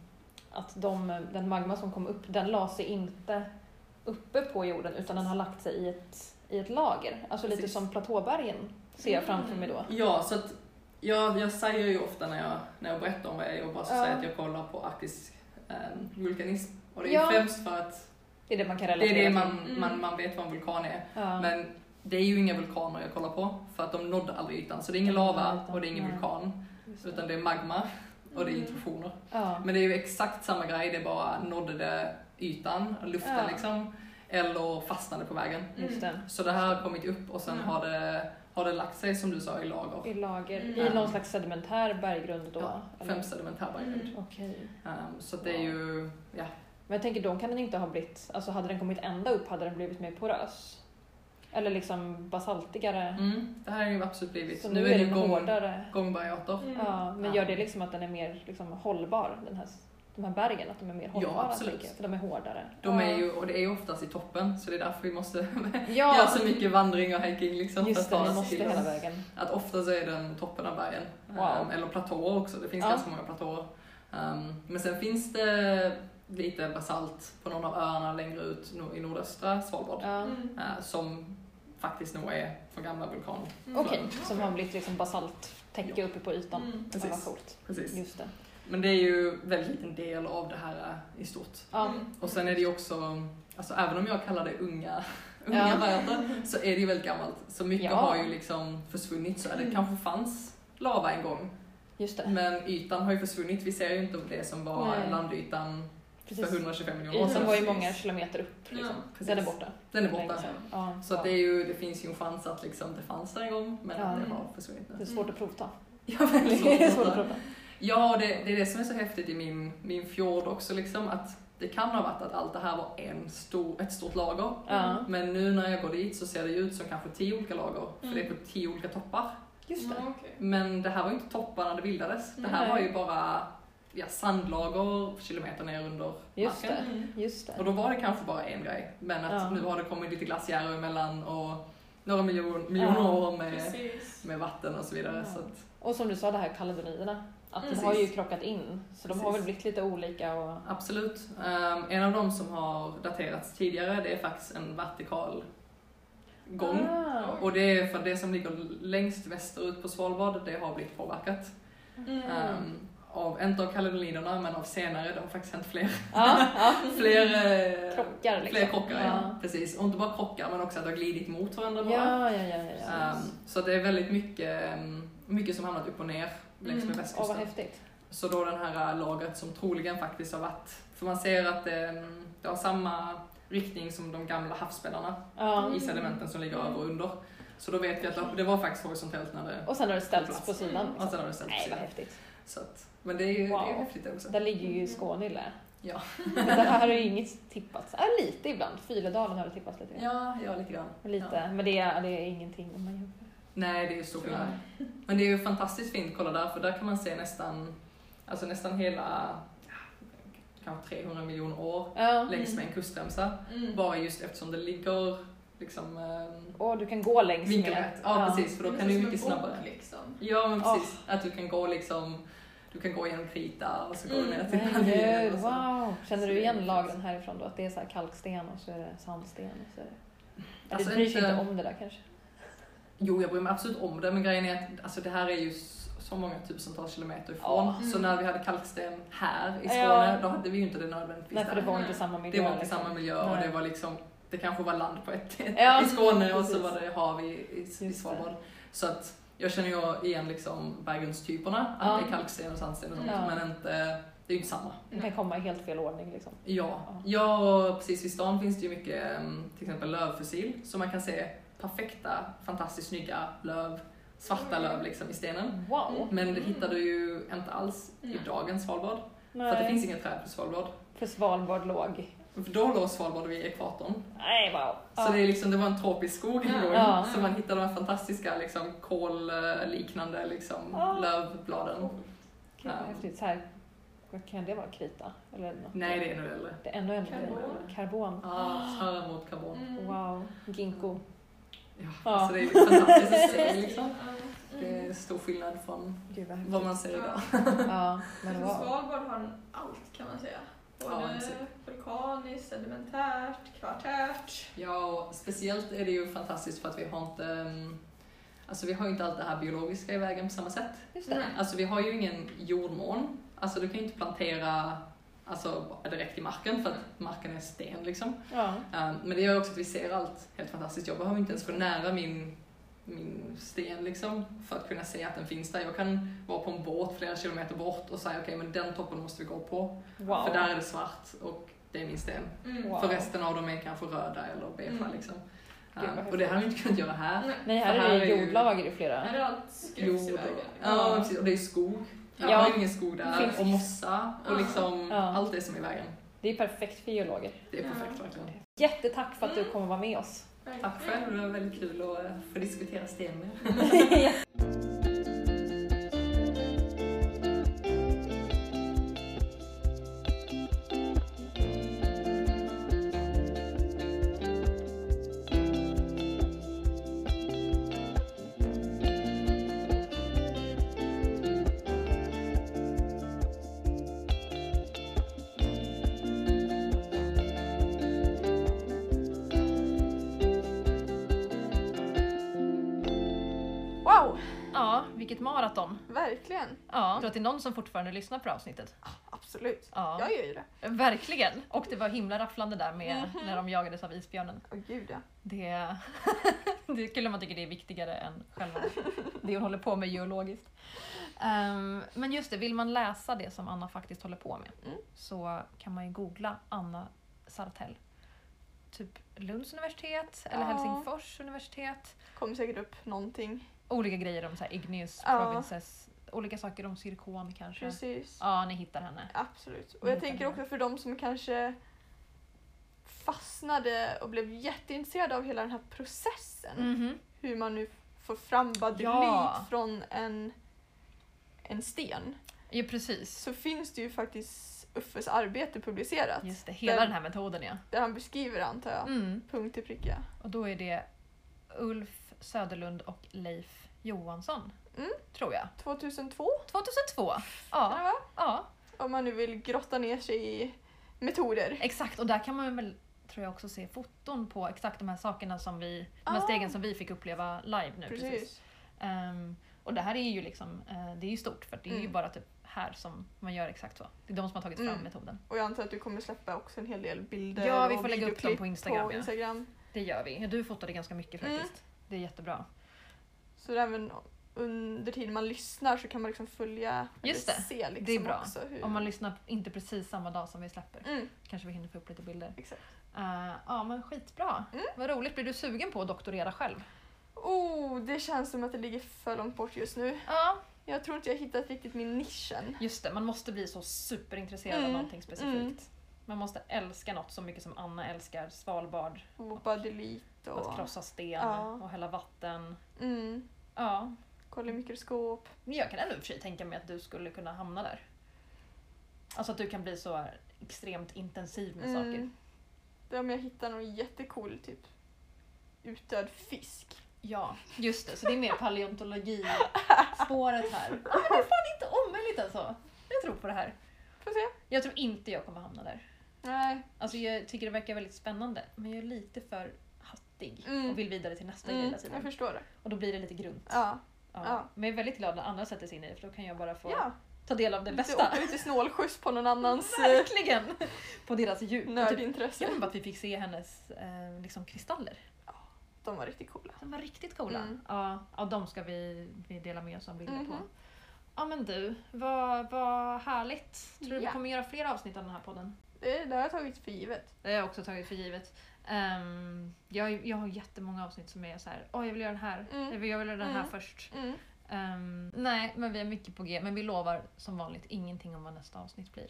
A: att de, den magma som kom upp, den la sig inte uppe på jorden utan den har lagt sig i ett, i ett lager. Alltså lite
E: Precis. Mm.
A: som platåbergen ser jag framför mig då.
E: Ja, så att jag, jag säger ju ofta när jag, när jag berättar om vad jag jobbar så
A: Ja.
E: säger jag att jag kollar på arktisk um, vulkanism. Och det är
A: Ja.
E: ju främst för att
A: Det är det man kan
E: det
A: relatera
E: är det
A: till.
E: man,
C: Mm.
E: man, man vet vad en vulkan är.
A: Ja.
E: Men det är ju inga vulkaner jag kollar på för att de nådde aldrig ytan. Så det är ingen
A: De nådde
E: lava
A: ytan,
E: och det är ingen
A: nej.
E: vulkan
A: Just det.
E: utan det är magma och det är
C: Mm.
E: intrusioner.
A: ja.
E: Men det är ju exakt samma grej, det är bara nådde det ytan, luften
A: Ja.
E: liksom, eller fastnade på vägen.
A: Just det.
E: Så det här har kommit upp och sen
C: Mm.
E: har, det, har det lagt sig som du sa i lager.
A: I lager,
C: Mm.
A: i någon slags sedimentär berggrund då?
E: Ja,
A: eller?
E: fem sedimentär berggrund.
C: Mm.
A: Okej.
E: Ehm, så att det är ju, ja.
A: Men jag tänker, då kan den inte ha blivit, alltså hade den kommit ända upp hade den blivit mer porös? Eller liksom basaltigare?
E: Mm, det här är ju absolut blivit.
A: Så
E: Nu är det ju gång,
A: hårdare.
E: gångbergarter.
C: Mm.
A: Ja, men
E: Ja.
A: gör det liksom att den är mer liksom, hållbar, den här, de här bergen? Att de är mer
E: Ja,
A: hållbara?
E: absolut.
A: tänker jag, för de är hårdare.
E: De är ju, och det är ju oftast i toppen, så det är därför vi måste
A: Ja,
E: göra så mycket vandring och hiking alltså, liksom.
A: just
E: för
A: det,
E: att
A: vi
E: ta oss
A: måste
E: till
A: hela
E: dem.
A: vägen.
E: Att ofta så är den toppen av bergen.
A: Wow.
E: Ehm, eller platåer också, det finns
A: Ja.
E: ganska många platåer. Ehm, men sen finns det lite basalt på någon av öarna längre ut no- i nordöstra Svalbard
A: Ja.
C: Mm.
E: eh, som faktiskt nog är från gamla vulkaner.
A: Mm. Okej, som har blivit liksom basalttäcke uppe på ytan.
E: Mm,
A: Ja, vad
E: precis,
A: coolt.
E: precis.
A: Just det.
E: Men det är ju väldigt liten del av det här eh, i stort.
A: Ja.
C: Mm.
E: Och sen är det ju också, alltså även om jag kallar det unga, unga
A: Ja.
E: världar, så är det ju väldigt gammalt. Så
A: Ja.
E: mycket
A: Mm.
E: har ju liksom försvunnit så det kanske fanns lava en gång.
A: Just det.
E: Men ytan har ju försvunnit, vi ser ju inte det som var
A: Nej.
E: landytan för
A: Precis.
E: 125 miljoner år
A: Ytan
E: sedan.
A: var ju många kilometer upp. Liksom.
E: Precis.
A: Den är borta.
E: Den är borta.
A: Länge sedan. Ja,
E: Så att det, är ju, det finns ju en chans att liksom det fanns där en gång, men
A: Ja.
E: att det har försvunnit
A: det är
E: nu.
A: svårt att provta.
E: Ja, väldigt svårt
A: Det är
E: att
A: svårt att
E: veta.
A: provta.
E: Ja, och det, det är det som är så häftigt i min, min fjord också, liksom, att det kan ha varit att allt det här var en stor, ett stort lager.
A: Ja.
E: Men nu när jag går dit så ser det ju ut som kanske tio olika lager, för det
A: Mm.
E: är på tio olika toppar.
A: Just det.
E: Men det här var ju inte toppar när det bildades. Det här
A: Nej.
E: var ju bara ja, sandlager kilometer ner under
A: Just
E: marken.
A: det.
C: Mm.
A: Just det.
E: Och då var det kanske bara en grej, men att
A: Ja.
E: nu har det kommit lite glaciärer emellan och några miljon, miljoner
A: Ja,
E: år med,
C: Precis.
E: med vatten och så vidare.
A: Ja.
E: Så att,
A: Och som du sa, det här kaledonierna. Att de
E: Precis.
A: har ju krockat in. Så de har
E: Precis.
A: väl blivit lite olika och...
E: absolut. Ehm, en av de som har daterats tidigare, det är faktiskt en vertikal gång.
A: Ah.
E: Och det är för det som ligger längst västerut på Svalbard, det har blivit påverkat.
C: Mm.
A: Mm.
E: Ehm, av, inte av kaledoniderna, men av senare. Det har faktiskt hänt fler,
A: Ja, ja.
E: fler, eh,
A: Mm. Krockar liksom.
E: fler krockar. Ja.
A: Ja.
E: Precis. Och inte bara krockar, men också att det har glidit mot varandra. bara.
A: Ja, ja, ja. ja, ja.
E: Ehm, så det är väldigt mycket, ehm, mycket som hamnat upp och ner längs med
A: Åh,
E: västkusten.
A: vad häftigt.
E: Så då den här äh, lagret som troligen faktiskt har varit, för man ser att det, det har samma riktning som de gamla havsbäddarna
A: Ja.
E: i sedimenten som ligger över och under. Så då vet vi att det var faktiskt horisontellt när det...
A: Och sen har det ställts på sidan.
E: Och
A: Liksom.
E: sen har det ställts på
A: Nej, vad
E: sidan.
A: häftigt.
E: Så att, men det är ju det är ju
A: Wow.
E: häftigt också.
A: Där ligger ju Skånille.
E: Ja.
A: Men det här har ju inget tippats. Äh, lite ibland. Fyledalen har det tippats lite. grann.
E: Ja, ja lite grann.
A: Men Lite.
E: Ja.
A: Men det är, det är ingenting om man jämför.
E: Nej, det är ju stor skillnad. Men det är ju fantastiskt fint, kolla där, för där kan man se nästan, alltså nästan hela, ja, kanske 300 miljoner år
A: Ja.
E: längs med en kustremsa.
C: Mm.
E: Bara just eftersom det ligger liksom eh,
A: Och du kan gå längs
E: vinkelrätt. Ja, precis, för då kan du ju mycket snabbare.
C: Liksom.
E: Ja, men precis. Att du kan gå liksom, du kan gå genom krita och så går du ner till
A: Men gud,
E: och så.
A: Mm, wow! Känner
E: Så
A: du
E: det är
A: igen
E: fint.
A: lagren härifrån då? Att det är så här kalksten och så är det sandsten och så är det...
E: Alltså,
A: du bryr sig
E: inte-
A: inte om det där kanske?
E: Jo, jag bryr mig absolut om det, men grejen är att alltså, det här är ju s- så många tusentals kilometer ifrån.
A: Ja. Mm.
E: Så när vi hade kalksten här i
A: Ja.
E: Skåne, då hade vi ju inte det nödvändigtvis
A: Nej, för det
E: där.
A: var inte samma miljö.
E: det var inte
A: liksom.
E: samma miljö och
A: Nej.
E: det var liksom, det kanske var land på ett
A: Ja,
E: i Skåne och så
A: precis.
E: var det hav i, i, i
A: det.
E: Svalbard. Så att jag känner ju igen liksom berggrundstyperna, att
A: Ja.
E: det är kalksten och sandsten och sånt,
A: Ja.
E: men inte, det är ju inte samma.
A: Det kan komma i helt fel ordning liksom.
E: Ja, ja och precis vid stan finns det ju mycket mm, till exempel lövfossil så man kan se perfekta, fantastiskt snygga löv, svarta
A: Mm.
E: löv liksom i stenen.
A: Wow!
E: Men det hittar du ju inte alls i dagens Svalbard, för att det finns inget träd på Svalbard.
A: För Svalbard låg.
E: För Då låg Svalbard vid ekvatorn,
A: Nej, wow!
E: så det, är liksom, det var en tropisk skog en gång,
A: Ja.
E: så man hittade de här fantastiska liksom, kolliknande liksom,
A: Ja.
E: lövbladen.
A: Gud, vad häftigt. Så här, vad kan det vara? Krita? Eller något?
E: Nej, det är nog äldre.
A: Det är ändå en
C: Karbon.
A: Karbon.
E: Ja, snarare mot karbon.
C: Mm.
A: Wow. Ginkgo.
E: Ja,
A: Ja.
E: Alltså det är fantastiskt att se liksom. Det
C: Mm.
E: är stor skillnad från
A: Gud vad häftigt.
E: vad man Mm. ser idag.
A: Ja, men
C: Alltså,
A: wow.
C: Svalbard har allt kan man säga.
E: Ja,
C: Både
E: exakt.
C: vulkaniskt, sedimentärt, kvartärt.
E: Ja, och speciellt är det ju fantastiskt för att vi har inte ehm, Alltså vi har ju inte allt det här biologiska i vägen på samma sätt.
A: Just det.
E: Alltså vi har ju ingen jordmån. Alltså du kan ju inte plantera alltså, direkt i marken för att marken är sten liksom.
A: Ja.
E: Ehm, Men det gör också att vi ser allt helt fantastiskt. Jag behöver inte ens gå nära min, min sten liksom, för att kunna se att den finns där. Jag kan vara på en båt flera kilometer bort och säga okej, men den toppen måste vi gå på.
A: Wow.
E: För där är det svart och det är min sten.
C: Mm.
A: Wow.
E: För resten av dem är kanske röda eller beigea liksom.
A: Gud, vad
E: Ehm, och det hade vi inte kunnat göra här.
A: Nej, här,
E: för här
A: är det
E: är ju-
A: jordlager i flera.
C: Här är allt skruvs i
E: Jord
C: vägen.
E: och, ja, precis. och det är skog. Jag
A: Ja.
E: har ju ingen skog där.
A: Finns-
E: Och mossa och liksom
A: Ja.
E: allt det som är i vägen.
A: Det är perfekt för geologer.
E: Det är perfekt
C: Ja.
E: verkligen.
A: Jättetack för att
E: Mm.
A: du kommer vara med oss.
E: Tack själv, det var väldigt kul att eh, få diskutera sten med er.
A: Ja, vilket maraton.
C: Verkligen.
A: Ja. Jag tror att det är någon som fortfarande lyssnar på avsnittet.
C: Absolut.
A: Ja.
C: Jag gör ju det.
A: Verkligen! Och det var himla rafflande där med
C: Mhm.
A: när de jagades av isbjörnen.
C: Åh gud ja.
A: Det, det är kul om man tycker det är viktigare än själva det hon håller på med geologiskt. Ehm, men just det, vill man läsa det som Anna faktiskt håller på med
C: Mm.
A: så kan man ju googla Anna Sartell. Typ Lunds universitet eller
C: Ja.
A: Helsingfors universitet.
C: Kommer säkert upp någonting.
A: Olika grejer om så här igneous
C: Ja.
A: provinces, olika saker om zirkon kanske.
C: Precis.
A: Ja, Mm, ni hittar henne.
C: Absolut. Och jag tänker också för de som kanske fastnade och blev jätteintresserade av hela den här processen.
A: Mhm.
C: Hur man nu får fram barylit
A: Ja.
C: från en, en sten.
A: Ja, precis.
C: Så finns det ju faktiskt Uffes arbete publicerat.
A: Just det, hela
C: Den-
A: den här metoden ja.
C: Där han beskriver det antar jag.
A: Mm.
C: Punkt till pricka.
A: Och då är det Ulf Söderlund och Leif Johansson.
C: Mm.
A: Tror jag.
C: 2002
A: 2002.
C: kan det
A: Ja,
C: vara.
A: ja,
C: Om man nu vill grotta ner sig i metoder.
A: exakt. Och där kan man väl tror jag också se foton på exakt de här sakerna som vi, de här
C: Ah.
A: stegen som vi fick uppleva live nu. Precis.
C: Precis.
A: Ehm, och det här är ju liksom, eh, det är ju stort för det är ju
C: Mm.
A: bara typ här som man gör exakt så. Det är de som har tagit fram
C: Mm.
A: metoden.
C: Och jag antar att du kommer släppa också en hel del bilder
A: Ja, vi
C: och
A: får lägga upp dem på
C: videoklipp
A: Instagram,
C: på
A: ja.
C: Instagram.
A: Det gör vi. Ja, du fotade ganska mycket
C: Mm.
A: faktiskt. Det är jättebra.
C: Så även under tiden man lyssnar så kan man liksom följa
A: Just
C: eller
A: det.
C: se liksom
A: Det är bra.
C: också hur...
A: Om man lyssnar inte precis samma dag som vi släpper
C: mm,
A: kanske vi hinner få upp lite bilder.
C: exakt.
A: Eh, ja men skitbra.
C: Mm.
A: Vad roligt. Blir du sugen på att doktorera själv?
C: Oh, det känns som att det ligger för långt bort just nu.
A: Ja.
C: Jag tror inte jag hittat riktigt min nisch än.
A: Just det, man måste bli så superintresserad av
C: Mm,
A: någonting specifikt.
C: mm.
A: Man måste älska något så mycket som Anna älskar Svalbard.
C: Och badylit
A: Och att
C: och...
A: krossa sten
C: Ja.
A: och hälla vatten.
C: Mm,
A: Ja.
C: kolla
A: Mm.
C: i mikroskop.
A: Men jag kan ändå i och för sig tänka mig att du skulle kunna hamna där. Alltså att du kan bli så extremt intensiv med saker.
C: Mm. Det är om jag hittar någon jättecool typ utdöd fisk.
A: Ja, just det. Så det är mer paleontologi-spåret här. Ja, men det är fan inte omöjligt alltså. Jag tror på det här.
C: Får se.
A: Jag tror inte jag kommer hamna där.
C: Nej,
A: Alltså jag tycker det verkar väldigt spännande men jag är lite för hattig
C: Mm.
A: och vill vidare till nästa grej
C: mm,
A: hela
C: jag
A: tiden.
C: förstår det.
A: Och då blir det lite grunt.
C: Ja,
A: Ja.
C: ja.
A: Men jag är väldigt glad när andra sätter sig in i det för då kan jag bara få
C: ja.
A: ta del av det
C: Lite
A: bästa.
C: Åka lite snålskjuts på någon annans eh,
A: Verkligen! På deras djup. Och Typ,
C: nördintresse.
A: jag bara att vi fick se hennes eh, liksom kristaller.
C: De var riktigt coola.
A: De var riktigt coola.
C: Mm.
A: Ja, ja, de ska vi, vi dela med oss av bilder på.
C: Mhm.
A: Ja men du, vad, vad härligt. Tror du
C: Ja.
A: vi kommer göra fler avsnitt av den här podden?
C: Det, det har jag tagit för givet.
A: Det har jag också tagit för givet. Ehm, jag, jag har jättemånga avsnitt som är så här, åh jag vill göra den här,
C: Mm.
A: jag vill göra den här
C: Mm.
A: först.
C: Mm.
A: Ehm, nej, men vi har mycket på G, men vi lovar som vanligt ingenting om vad nästa avsnitt blir.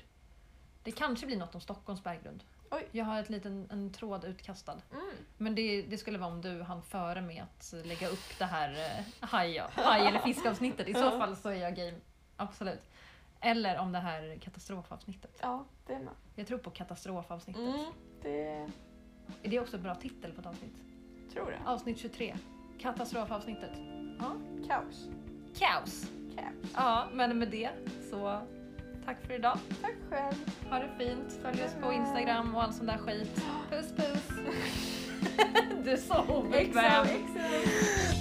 A: Det kanske blir något om Stockholms berggrund.
C: Oj.
A: Jag har ett liten, en tråd utkastad.
C: Mm.
A: Men det, det skulle vara om du hann före med att lägga upp det här eh, haj, haj eller fiskavsnittet. I så fall så är jag game. Absolut. Eller om det här katastrofavsnittet.
C: Ja, det är med.
A: Jag tror på katastrofavsnittet.
C: Mm. Det
A: Är det också en bra titel på ett avsnitt?
C: tror jag.
A: Avsnitt 23. Katastrofavsnittet.
C: Kaos.
A: Kaos!
C: Kaos.
A: Ja, men med det så tack för idag.
C: Tack själv.
A: Ha det fint. Följ oss på Instagram och all sån där skit. Puss puss! Du är så obekväm.
C: XOXO.